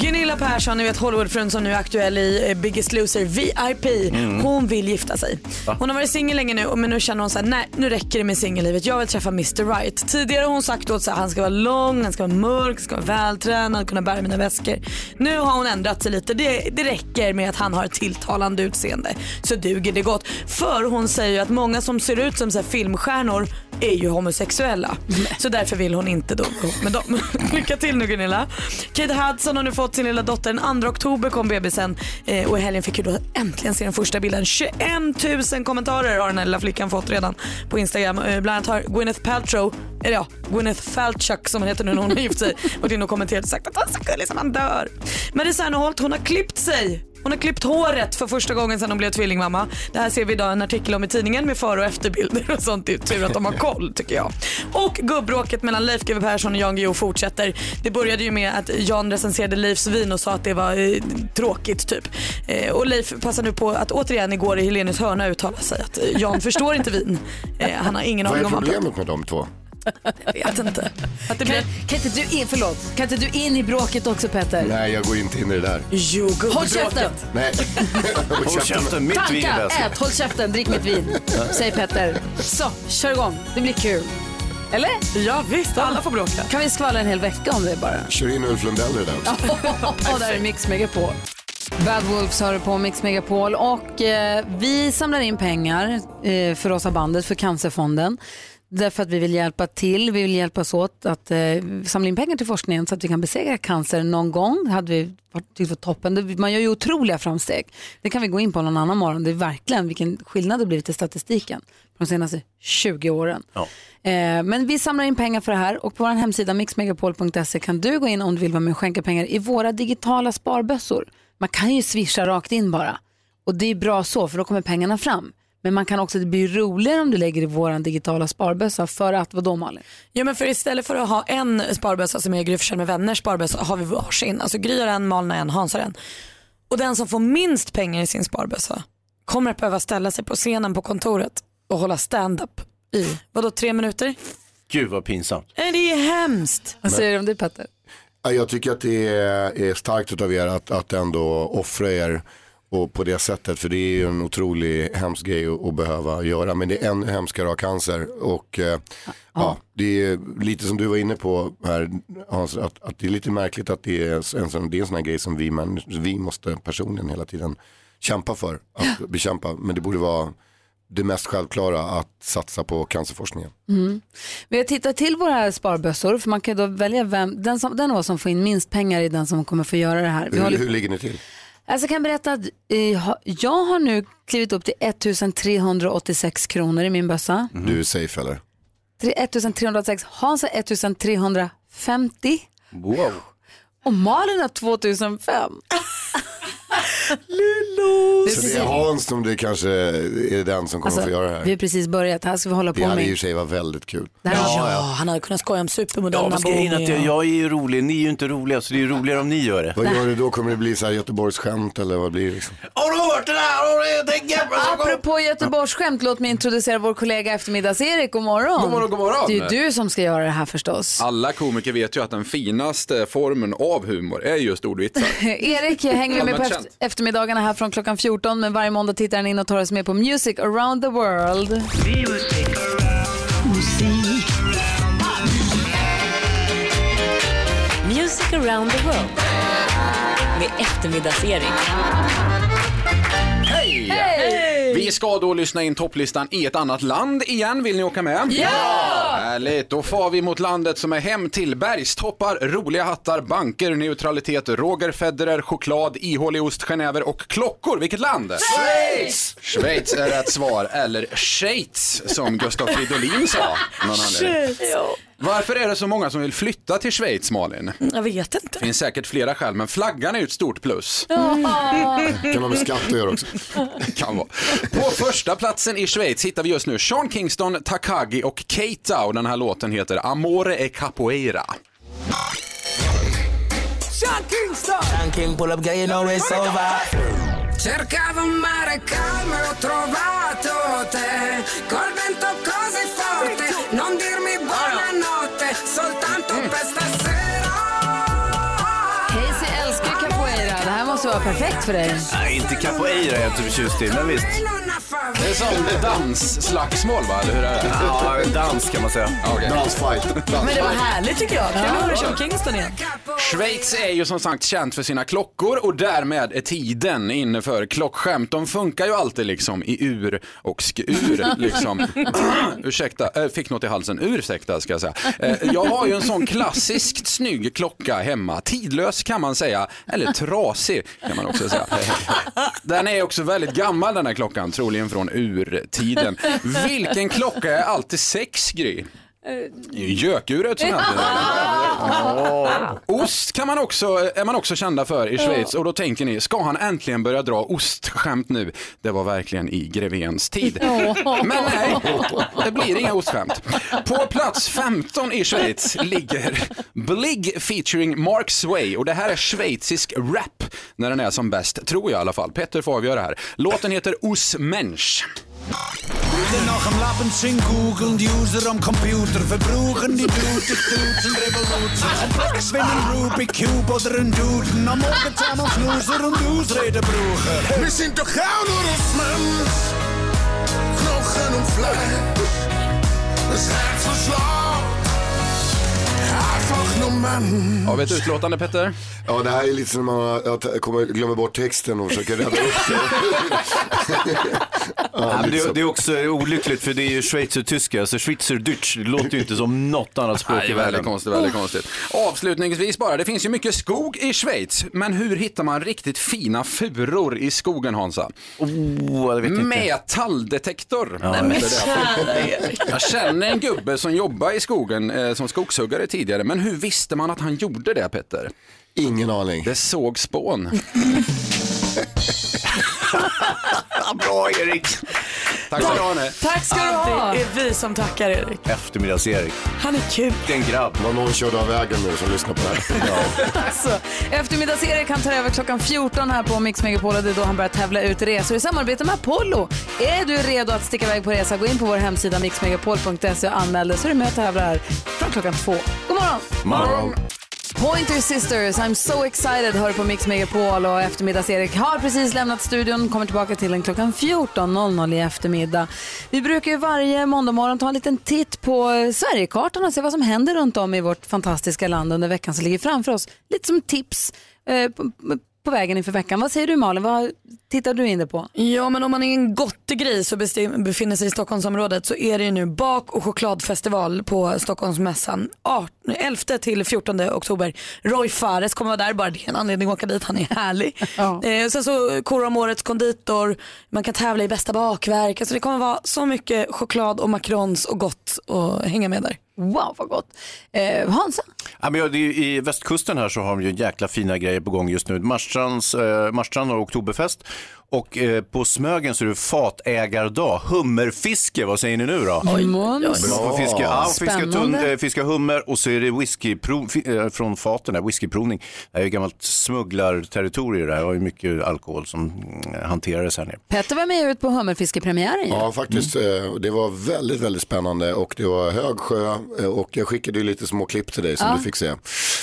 Gunilla Persson, ni vet Hollywoodfrun som nu är aktuell i eh, Biggest Loser VIP. Mm. Hon vill gifta sig. Va? Hon har varit singel länge nu men nu känner hon så här, nej nu räcker det med singellivet. Jag vill träffa Mr Right. Tidigare har hon sagt åt sig att han ska vara lång, han ska vara mörk, ska vara vältränad, kunna bära mina väskor. Nu har hon ändrat sig lite. Det, det räcker med att han har ett tilltalande utseende så duger det gott. För hon säger ju att många som ser ut som så här alltså, filmstjärnor är ju homosexuella. Så därför vill hon inte då vara ihop med dem. Lycka till nu Gunilla. Kate Hudson har nu fått sin lilla dotter. Den 2 oktober kom bebisen eh, och i helgen fick ju då äntligen se den första bilden. 21 000 kommentarer har den här lilla flickan fått redan på Instagram. Eh, Bland annat har Gwyneth Paltrow, eller ja, Gwyneth Falchuk som hon heter nu när hon har gift sig, varit inne och kommenterat och sagt att han är så gullig som han dör. Marie Serneholt, hon har klippt sig. Hon har klippt håret för första gången sedan hon blev tvillingmamma. Det här ser vi idag i en artikel om i tidningen med före och efterbilder och sånt. Det är tur att de har koll tycker jag. Och gubbråket mellan Leif GW Persson och Jan Guillou fortsätter. Det började ju med att Jan recenserade Leifs vin och sa att det var eh, tråkigt typ. Eh, och Leif passar nu på att återigen igår i Helenius hörna uttala sig att eh, Jan förstår inte vin. Eh, han har ingen Vad aning är om vad han pratar om. problemet med de två? Jag vet inte. Att det kan, kan inte du in, förlåt, kan inte du in i bråket också Petter? Nej, jag går inte in i det där. Jo, Håll käften! Nej. Håll käften, Tanka, ät, håll käften, drick mitt vin. Säger Petter. Så, kör igång. Det blir kul. Eller? Ja, visst. Alla får bråka. Kan vi skvallra en hel vecka om det bara? Kör in Ulf Lundell i det där också. Och där är Mix Megapol. Bad Wolves hör du på Mix Megapol och eh, vi samlar in pengar eh, för oss av bandet, för Cancerfonden. Därför att vi vill hjälpa till, vi vill hjälpas åt att eh, samla in pengar till forskningen så att vi kan besegra cancer någon gång. Det hade vi varit tyckt var toppen. Det- Man gör ju otroliga framsteg. Det kan vi gå in på någon annan morgon. Det är verkligen vilken skillnad det blivit i statistiken de senaste 20 åren. Eh, Men vi samlar in pengar för det här och på vår hemsida mixmegapol.se kan du gå in om du vill vara med och skänka pengar i våra digitala sparbössor. Man kan ju swisha rakt in bara och det är bra så för då kommer pengarna fram. Men man kan också, det blir roligare om du lägger i vår digitala sparbössa för att, vadå Malin? Ja men för istället för att ha en sparbössa som är Gry Forssell med vänner sparbössa har vi varsin. Alltså Gry har en, Malin har en, Hans har en. Och den som får minst pengar i sin sparbössa kommer att behöva ställa sig på scenen på kontoret och hålla stand-up i, vadå tre minuter? Gud vad pinsamt. Nej det är hemskt. Vad säger du om det Petter? Ja, Jag tycker att det är är starkt av er att, att ändå offra er och på det sättet. För det är ju en otrolig hemsk grej att, att behöva göra. Men det är ännu hemskare att ha cancer. Och eh, ja, det är lite som du var inne på här Hans, att, att det är lite märkligt att det är en sån, det är en sån här grej som vi, män, vi måste personligen hela tiden kämpa för. Att bekämpa. Men det borde vara det mest självklara att satsa på cancerforskningen. Mm. Vi har tittat till våra sparbössor för man kan ju då välja vem, den, som, den av oss som får in minst pengar är den som kommer få göra det här. Vi Hur, håller- hur ligger ni till? Alltså jag kan berätta att eh, ha- jag har nu klivit upp till 1386 kronor i min bössa. Du är safe eller? Tre- 1386, Hans har 1350 Wow. och Malin har 2005. Lillo! Så det är Hans som det kanske är den som kommer Alltså, få göra det Vi har här. precis börjat, här ska vi hålla Det på hade med. i och för sig varit väldigt kul. Det här- Ja, han hade kunnat skoja om Ja, supermodellerna fast grejen är att jag, jag är ju rolig, ni är ju inte roliga så det är ju roligare om ni gör det. Vad gör du då? Kommer det bli så här Göteborgsskämt eller vad blir det? Liksom? Har du hört det där? Har du- jag tänker- Apropå Göteborgsskämt, låt mig introducera vår kollega eftermiddags-Erik. God morgon. God morgon, god morgon. Det är ju du som ska göra det här förstås. Alla komiker vet ju att den finaste formen av humor är just ordvitsar. Erik jag hänger vi med på Allmänt efter- eftermiddagarna här från klockan 14 men varje måndag tittar han in och tar oss med på Music around the world. Music around the world med eftermiddagsserien. Hej! Hej! Vi ska då lyssna in topplistan i ett annat land igen. Vill ni åka med? Ja! Härligt, då far vi mot landet som är hem till bergstoppar, roliga hattar, banker, neutralitet, Roger Federer, choklad, ihålig ost, genever och klockor. Vilket land? Schweiz! Schweiz är rätt svar, eller Schweiz som Gustav Fridolin sa. någon anledning. Schweiz. Varför är det så många som vill flytta till Schweiz, Malin? Jag vet inte. Det finns säkert flera skäl, men flaggan är ju ett stort plus. Kan ha med skatt att göra också. kan vara. På första platsen i Schweiz hittar vi just nu Sean Kingston, Takagi och Keita och den här låten heter Amore e Capoeira. Sean Kingston! Sean King, pull up gay, you know it's over. Cercavo un mare calmo e ho trovato te Col vento così forte Non dirmi Mm. buonanotte Soltanto per Casey älskar ju capoeira. Det här måste vara perfekt för dig. Nej, inte capoeira är jag inte förtjust i, men visst. Det är som dansslagsmål va, eller hur är det? Ja, dans kan man säga. Dansfight. Men det var härligt tycker jag. Kul att höra Sean Kingston igen. Schweiz är ju som sagt känt för sina klockor och därmed är tiden inne för klockskämt. De funkar ju alltid liksom i ur och skur. Liksom. Ursäkta, eh, fick något i halsen. Ursäkta ska jag säga. Eh, Jag har ju en sån klassiskt snygg klocka hemma. Tidlös kan man säga, eller trasig kan man också säga. Den är också väldigt gammal den här klockan, troligen från urtiden. Vilken klocka är alltid sex Gry? Det är ju Gökuret som alltid är Ost kan man också, eh, är man också kända för i Schweiz och då tänker ni, ska han äntligen börja dra ostskämt nu? Det var verkligen i Grevens tid. Men nej, det blir inga ostskämt. På plats 15 i Schweiz ligger Blig featuring Mark Sway och det här är schweizisk rap när den är som bäst, tror jag i alla fall. Petter får avgöra här. Låten heter Os Mensch. Bitte noch am Lappen sind googeln die User am Computer, verbrauchen die Dude Dutzend Revolution. Ein Max wie ein Rubik Cube oder ein Duden, am Morgen zusammen Fluser und Ausreden brauchen. Wir sind doch auch nur aus Mensch, Knochen und Fleisch, das Herz verschlägt. Einfach nur Mensch. Ja, vet du utlåtande Petter? Ja, det här är lite som när man jag kommer, glömmer bort texten och försöker rädda upp det. Ja, men det, är- det är också olyckligt för det är ju schweizertyska, så schweizerdeutsch låter ju inte som något annat språk Nej, i det är världen. väldigt konstigt, väldigt konstigt. Avslutningsvis bara, det finns ju mycket skog i Schweiz, men hur hittar man riktigt fina furor i skogen Hansa? Oh, det vet jag inte. Metalldetektor. Ja, Nej, men- det är jag känner en gubbe som jobbade i skogen eh, som skogshuggare tidigare, men hur visste man att han gjorde det Petter? Ingen aning. Det såg spån. Bra Erik! Tack ska du ha. Tack ska du ha. Det är vi som tackar Erik. Eftermiddags-Erik. Han är kul. Vilken grabb. Var någon körde av vägen nu som lyssnar på det här. Alltså, eftermiddags-Erik han tar över klockan 14 här på Mix Megapol och det är då han börjar tävla ut resor i samarbete med Apollo. Är du redo att sticka iväg på resa, gå in på vår hemsida mixmegapol.se och anmäl dig så är du med och tävlar från klockan två. God morgon! Morgon. Pointer Sisters, I'm so excited, hör på Mix Megapol och eftermiddags-Erik har precis lämnat studion, kommer tillbaka till den klockan 14.00 i eftermiddag. Vi brukar ju varje måndag morgon ta en liten titt på eh, Sverigekartan och se vad som händer runt om i vårt fantastiska land under veckan som ligger framför oss. Lite som tips eh, på, på vägen inför veckan. Vad säger du Malin, vad tittar du in det på? Ja men om man är en gris och besti- befinner sig i Stockholmsområdet så är det ju nu bak och chokladfestival på Stockholmsmässan. 18, 11 till 14 oktober. Roy Fares kommer vara där, bara det är en anledning att åka dit, han är härlig. Eh, sen så korar om årets konditor, man kan tävla i bästa bakverk. Alltså det kommer vara så mycket choklad och macarons och gott att hänga med där. Wow vad gott. Eh, Hansa? Ja, men ja, det är ju, I västkusten här så har de ju jäkla fina grejer på gång just nu. Marstrands, eh, Marstrand har oktoberfest och eh, på Smögen så är det fatägardag. Hummerfiske, vad säger ni nu då? Oj, Måns. Bra. Bra. Fiska, ja, fiska, tun, Spännande. eh, fiska hummer och så är det whiskyprov fi- eh, från faten, här, whiskyprovning. Det här är ju gammalt smugglarterritorium det här. Det var ju mycket alkohol som mm, hanterades här nere. Petter var med ut på hummerfiskepremiären ju. Ja, faktiskt. eh, Det var väldigt, väldigt spännande och det var hög sjö eh, och jag skickade ju lite små klipp till dig som Ja. du fick se.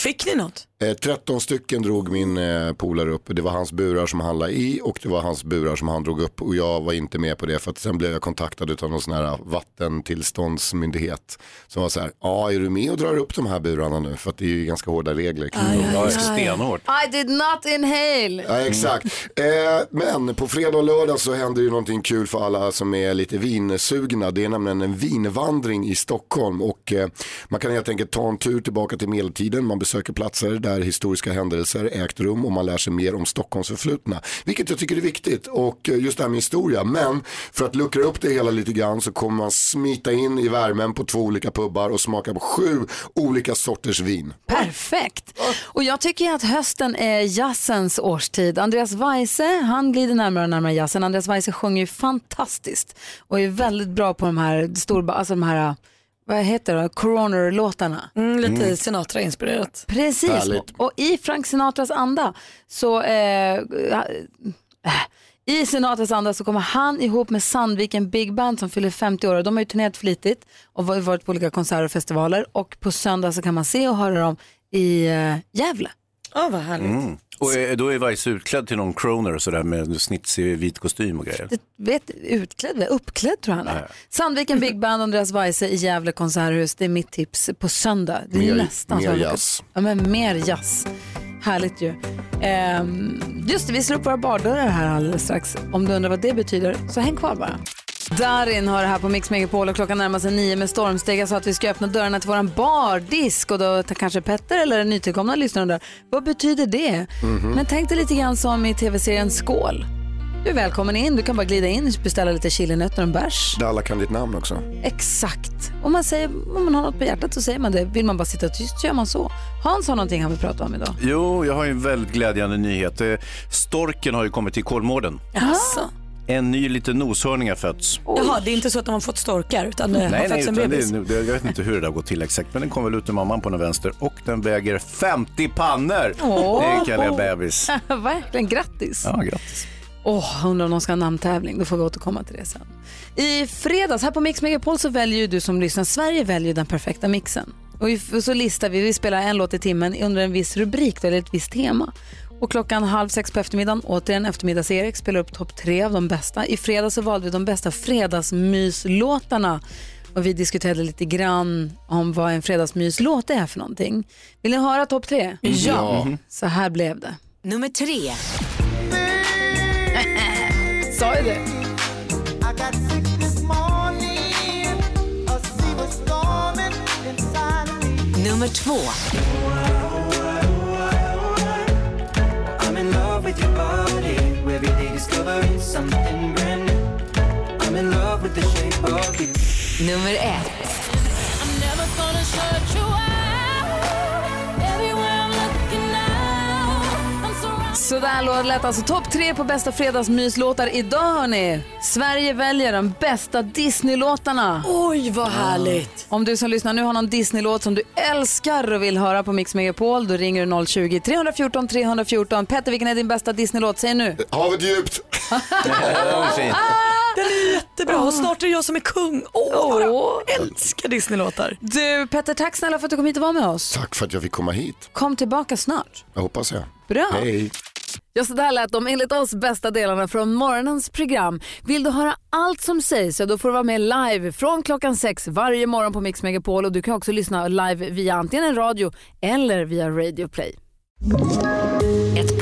Fick ni något? Eh, 13 stycken drog min eh, polare upp. Det var hans burar som han la i och det var hans burar som han drog upp. Och jag var inte med på det för att sen blev jag kontaktad av någon sån här vattentillståndsmyndighet. Som var så här, ja är du med och drar upp de här burarna nu? För att det är ju ganska hårda regler. kring dem. I did not inhale. Ja, exakt. Eh, men på fredag och lördag så händer ju någonting kul för alla som är lite vinsugna. Det är nämligen en vinvandring i Stockholm och eh, man kan helt enkelt ta en tur tillbaka till medeltiden. Man besöker platser där där historiska händelser ägt rum och man lär sig mer om Stockholms förflutna. Vilket jag tycker är viktigt och eh, just det här med historia. Men för att luckra upp det hela lite grann så kommer man smita in i värmen på två olika pubbar och smaka på sju olika sorters vin. Perfekt. Och jag tycker ju att hösten är jazzens årstid. Andreas Weise, han glider närmare och närmare jazzen. Andreas Weise sjunger ju fantastiskt och är väldigt bra på de här stora, alltså de här, vad heter det, coroner-låtarna. Mm, lite Sinatra-inspirerat. Precis, Härligt. och i Frank Sinatras anda så eh, äh, i Sinatras anda så kommer han ihop med Sandviken Big Band som fyller 50 år och de har ju turnerat flitigt och var- varit på olika konserter och festivaler och på söndag så kan man se och höra dem i eh, Gävle. Ja, vad härligt. Mm. Och eh, då är Weiss utklädd till någon croner och sådär med snitsig vit kostym och grejer. Vet, utklädd, uppklädd tror jag han är. Sandviken Big Band, Andreas Weise i Gävle konserthus. Det är mitt tips på söndag. Det är Mer- nästan mer så jag har jazz. lyckats. Ja, men mer jazz. Härligt ju. Ehm, just det, vi slår upp våra bardörrar här alldeles strax. Om du undrar vad det betyder, så häng kvar bara. Darin har det här på Mix Megapol och klockan närmar sig nio med stormsteg. Jag sa att vi ska öppna dörrarna till våran bardisk och då tar kanske Petter eller den nytillkomna lyssnaren där. Vad betyder det? Mhm. Men tänk dig lite grann som i tv-serien Skål. Du är välkommen in, du kan bara glida in och beställa lite chilinötter och en bärs. Där alla kan ditt namn också. Exakt. Om man, säger, om man har något på hjärtat så säger man det. Vill man bara sitta tyst så gör man så. Hans har någonting han vill prata om idag. Jo, jag har ju en väldigt glädjande nyhet. Eh, Storken har ju kommit till Kolmården. Jaså? En ny liten noshörning har fötts. Jaha, det är inte så att de har fått storkar utan det har Nej, nej, fötts en utan det, bebis? är- det, jag vet inte hur det där går till exakt, men den kom väl ut ur mamman på den vänster och den väger 50 pannor. Åh. Det är en kallig bebis. Verkligen, grattis. Ja, grattis. Åh, undrar om de ska ha namntävling. Då får vi återkomma till det sen. I fredags här på Mix Megapol så väljer ju du som lyssnar, Sverige väljer den perfekta mixen. Och i- och så listar vi, vi spelar en låt i timmen under en viss rubrik då, eller ett visst tema. Och klockan halv sex på eftermiddagen, återigen eftermiddags-Erik, spelar upp topp tre av de bästa. I fredags så valde vi de bästa fredagsmyslåtarna. Och vi diskuterade lite grann om vad en fredagsmyslåt är för någonting. Vill ni höra topp tre? Ja. Mhm. Så här blev det. Nummer tre. Sa ju det. I got sick this morning. A sea was storming inside of me. Nummer två. I'm in love with your body. Every day discovering something brand new. I'm in love with the shape of you. Nummer ett. Så där lå- lät alltså topp tre på bästa fredagsmyslåtar idag hörni. Sverige väljer de bästa Disney-låtarna. Oj, vad härligt. Om du som lyssnar nu har någon Disney-låt som du älskar och vill höra på Mix Megapol, då ringer du 020 314 314. Petter, vilken är din bästa Disney-låt? Säg nu. Havet djupt. Den är jättebra och snart är det jag som är kung. Åh, vad jag älskar Disneylåtar. Du, Petter, tack snälla för att du kom hit och var med oss. Tack för att jag fick komma hit. Kom tillbaka snart. Jag hoppas jag. Bra. Hej. Ja, så där lät de enligt oss bästa delarna från morgonens program. Vill du höra allt som sägs så då får du vara med live från klockan sex varje morgon på Mix Megapol och du kan också lyssna live via antingen en radio eller via Radio Play. Ett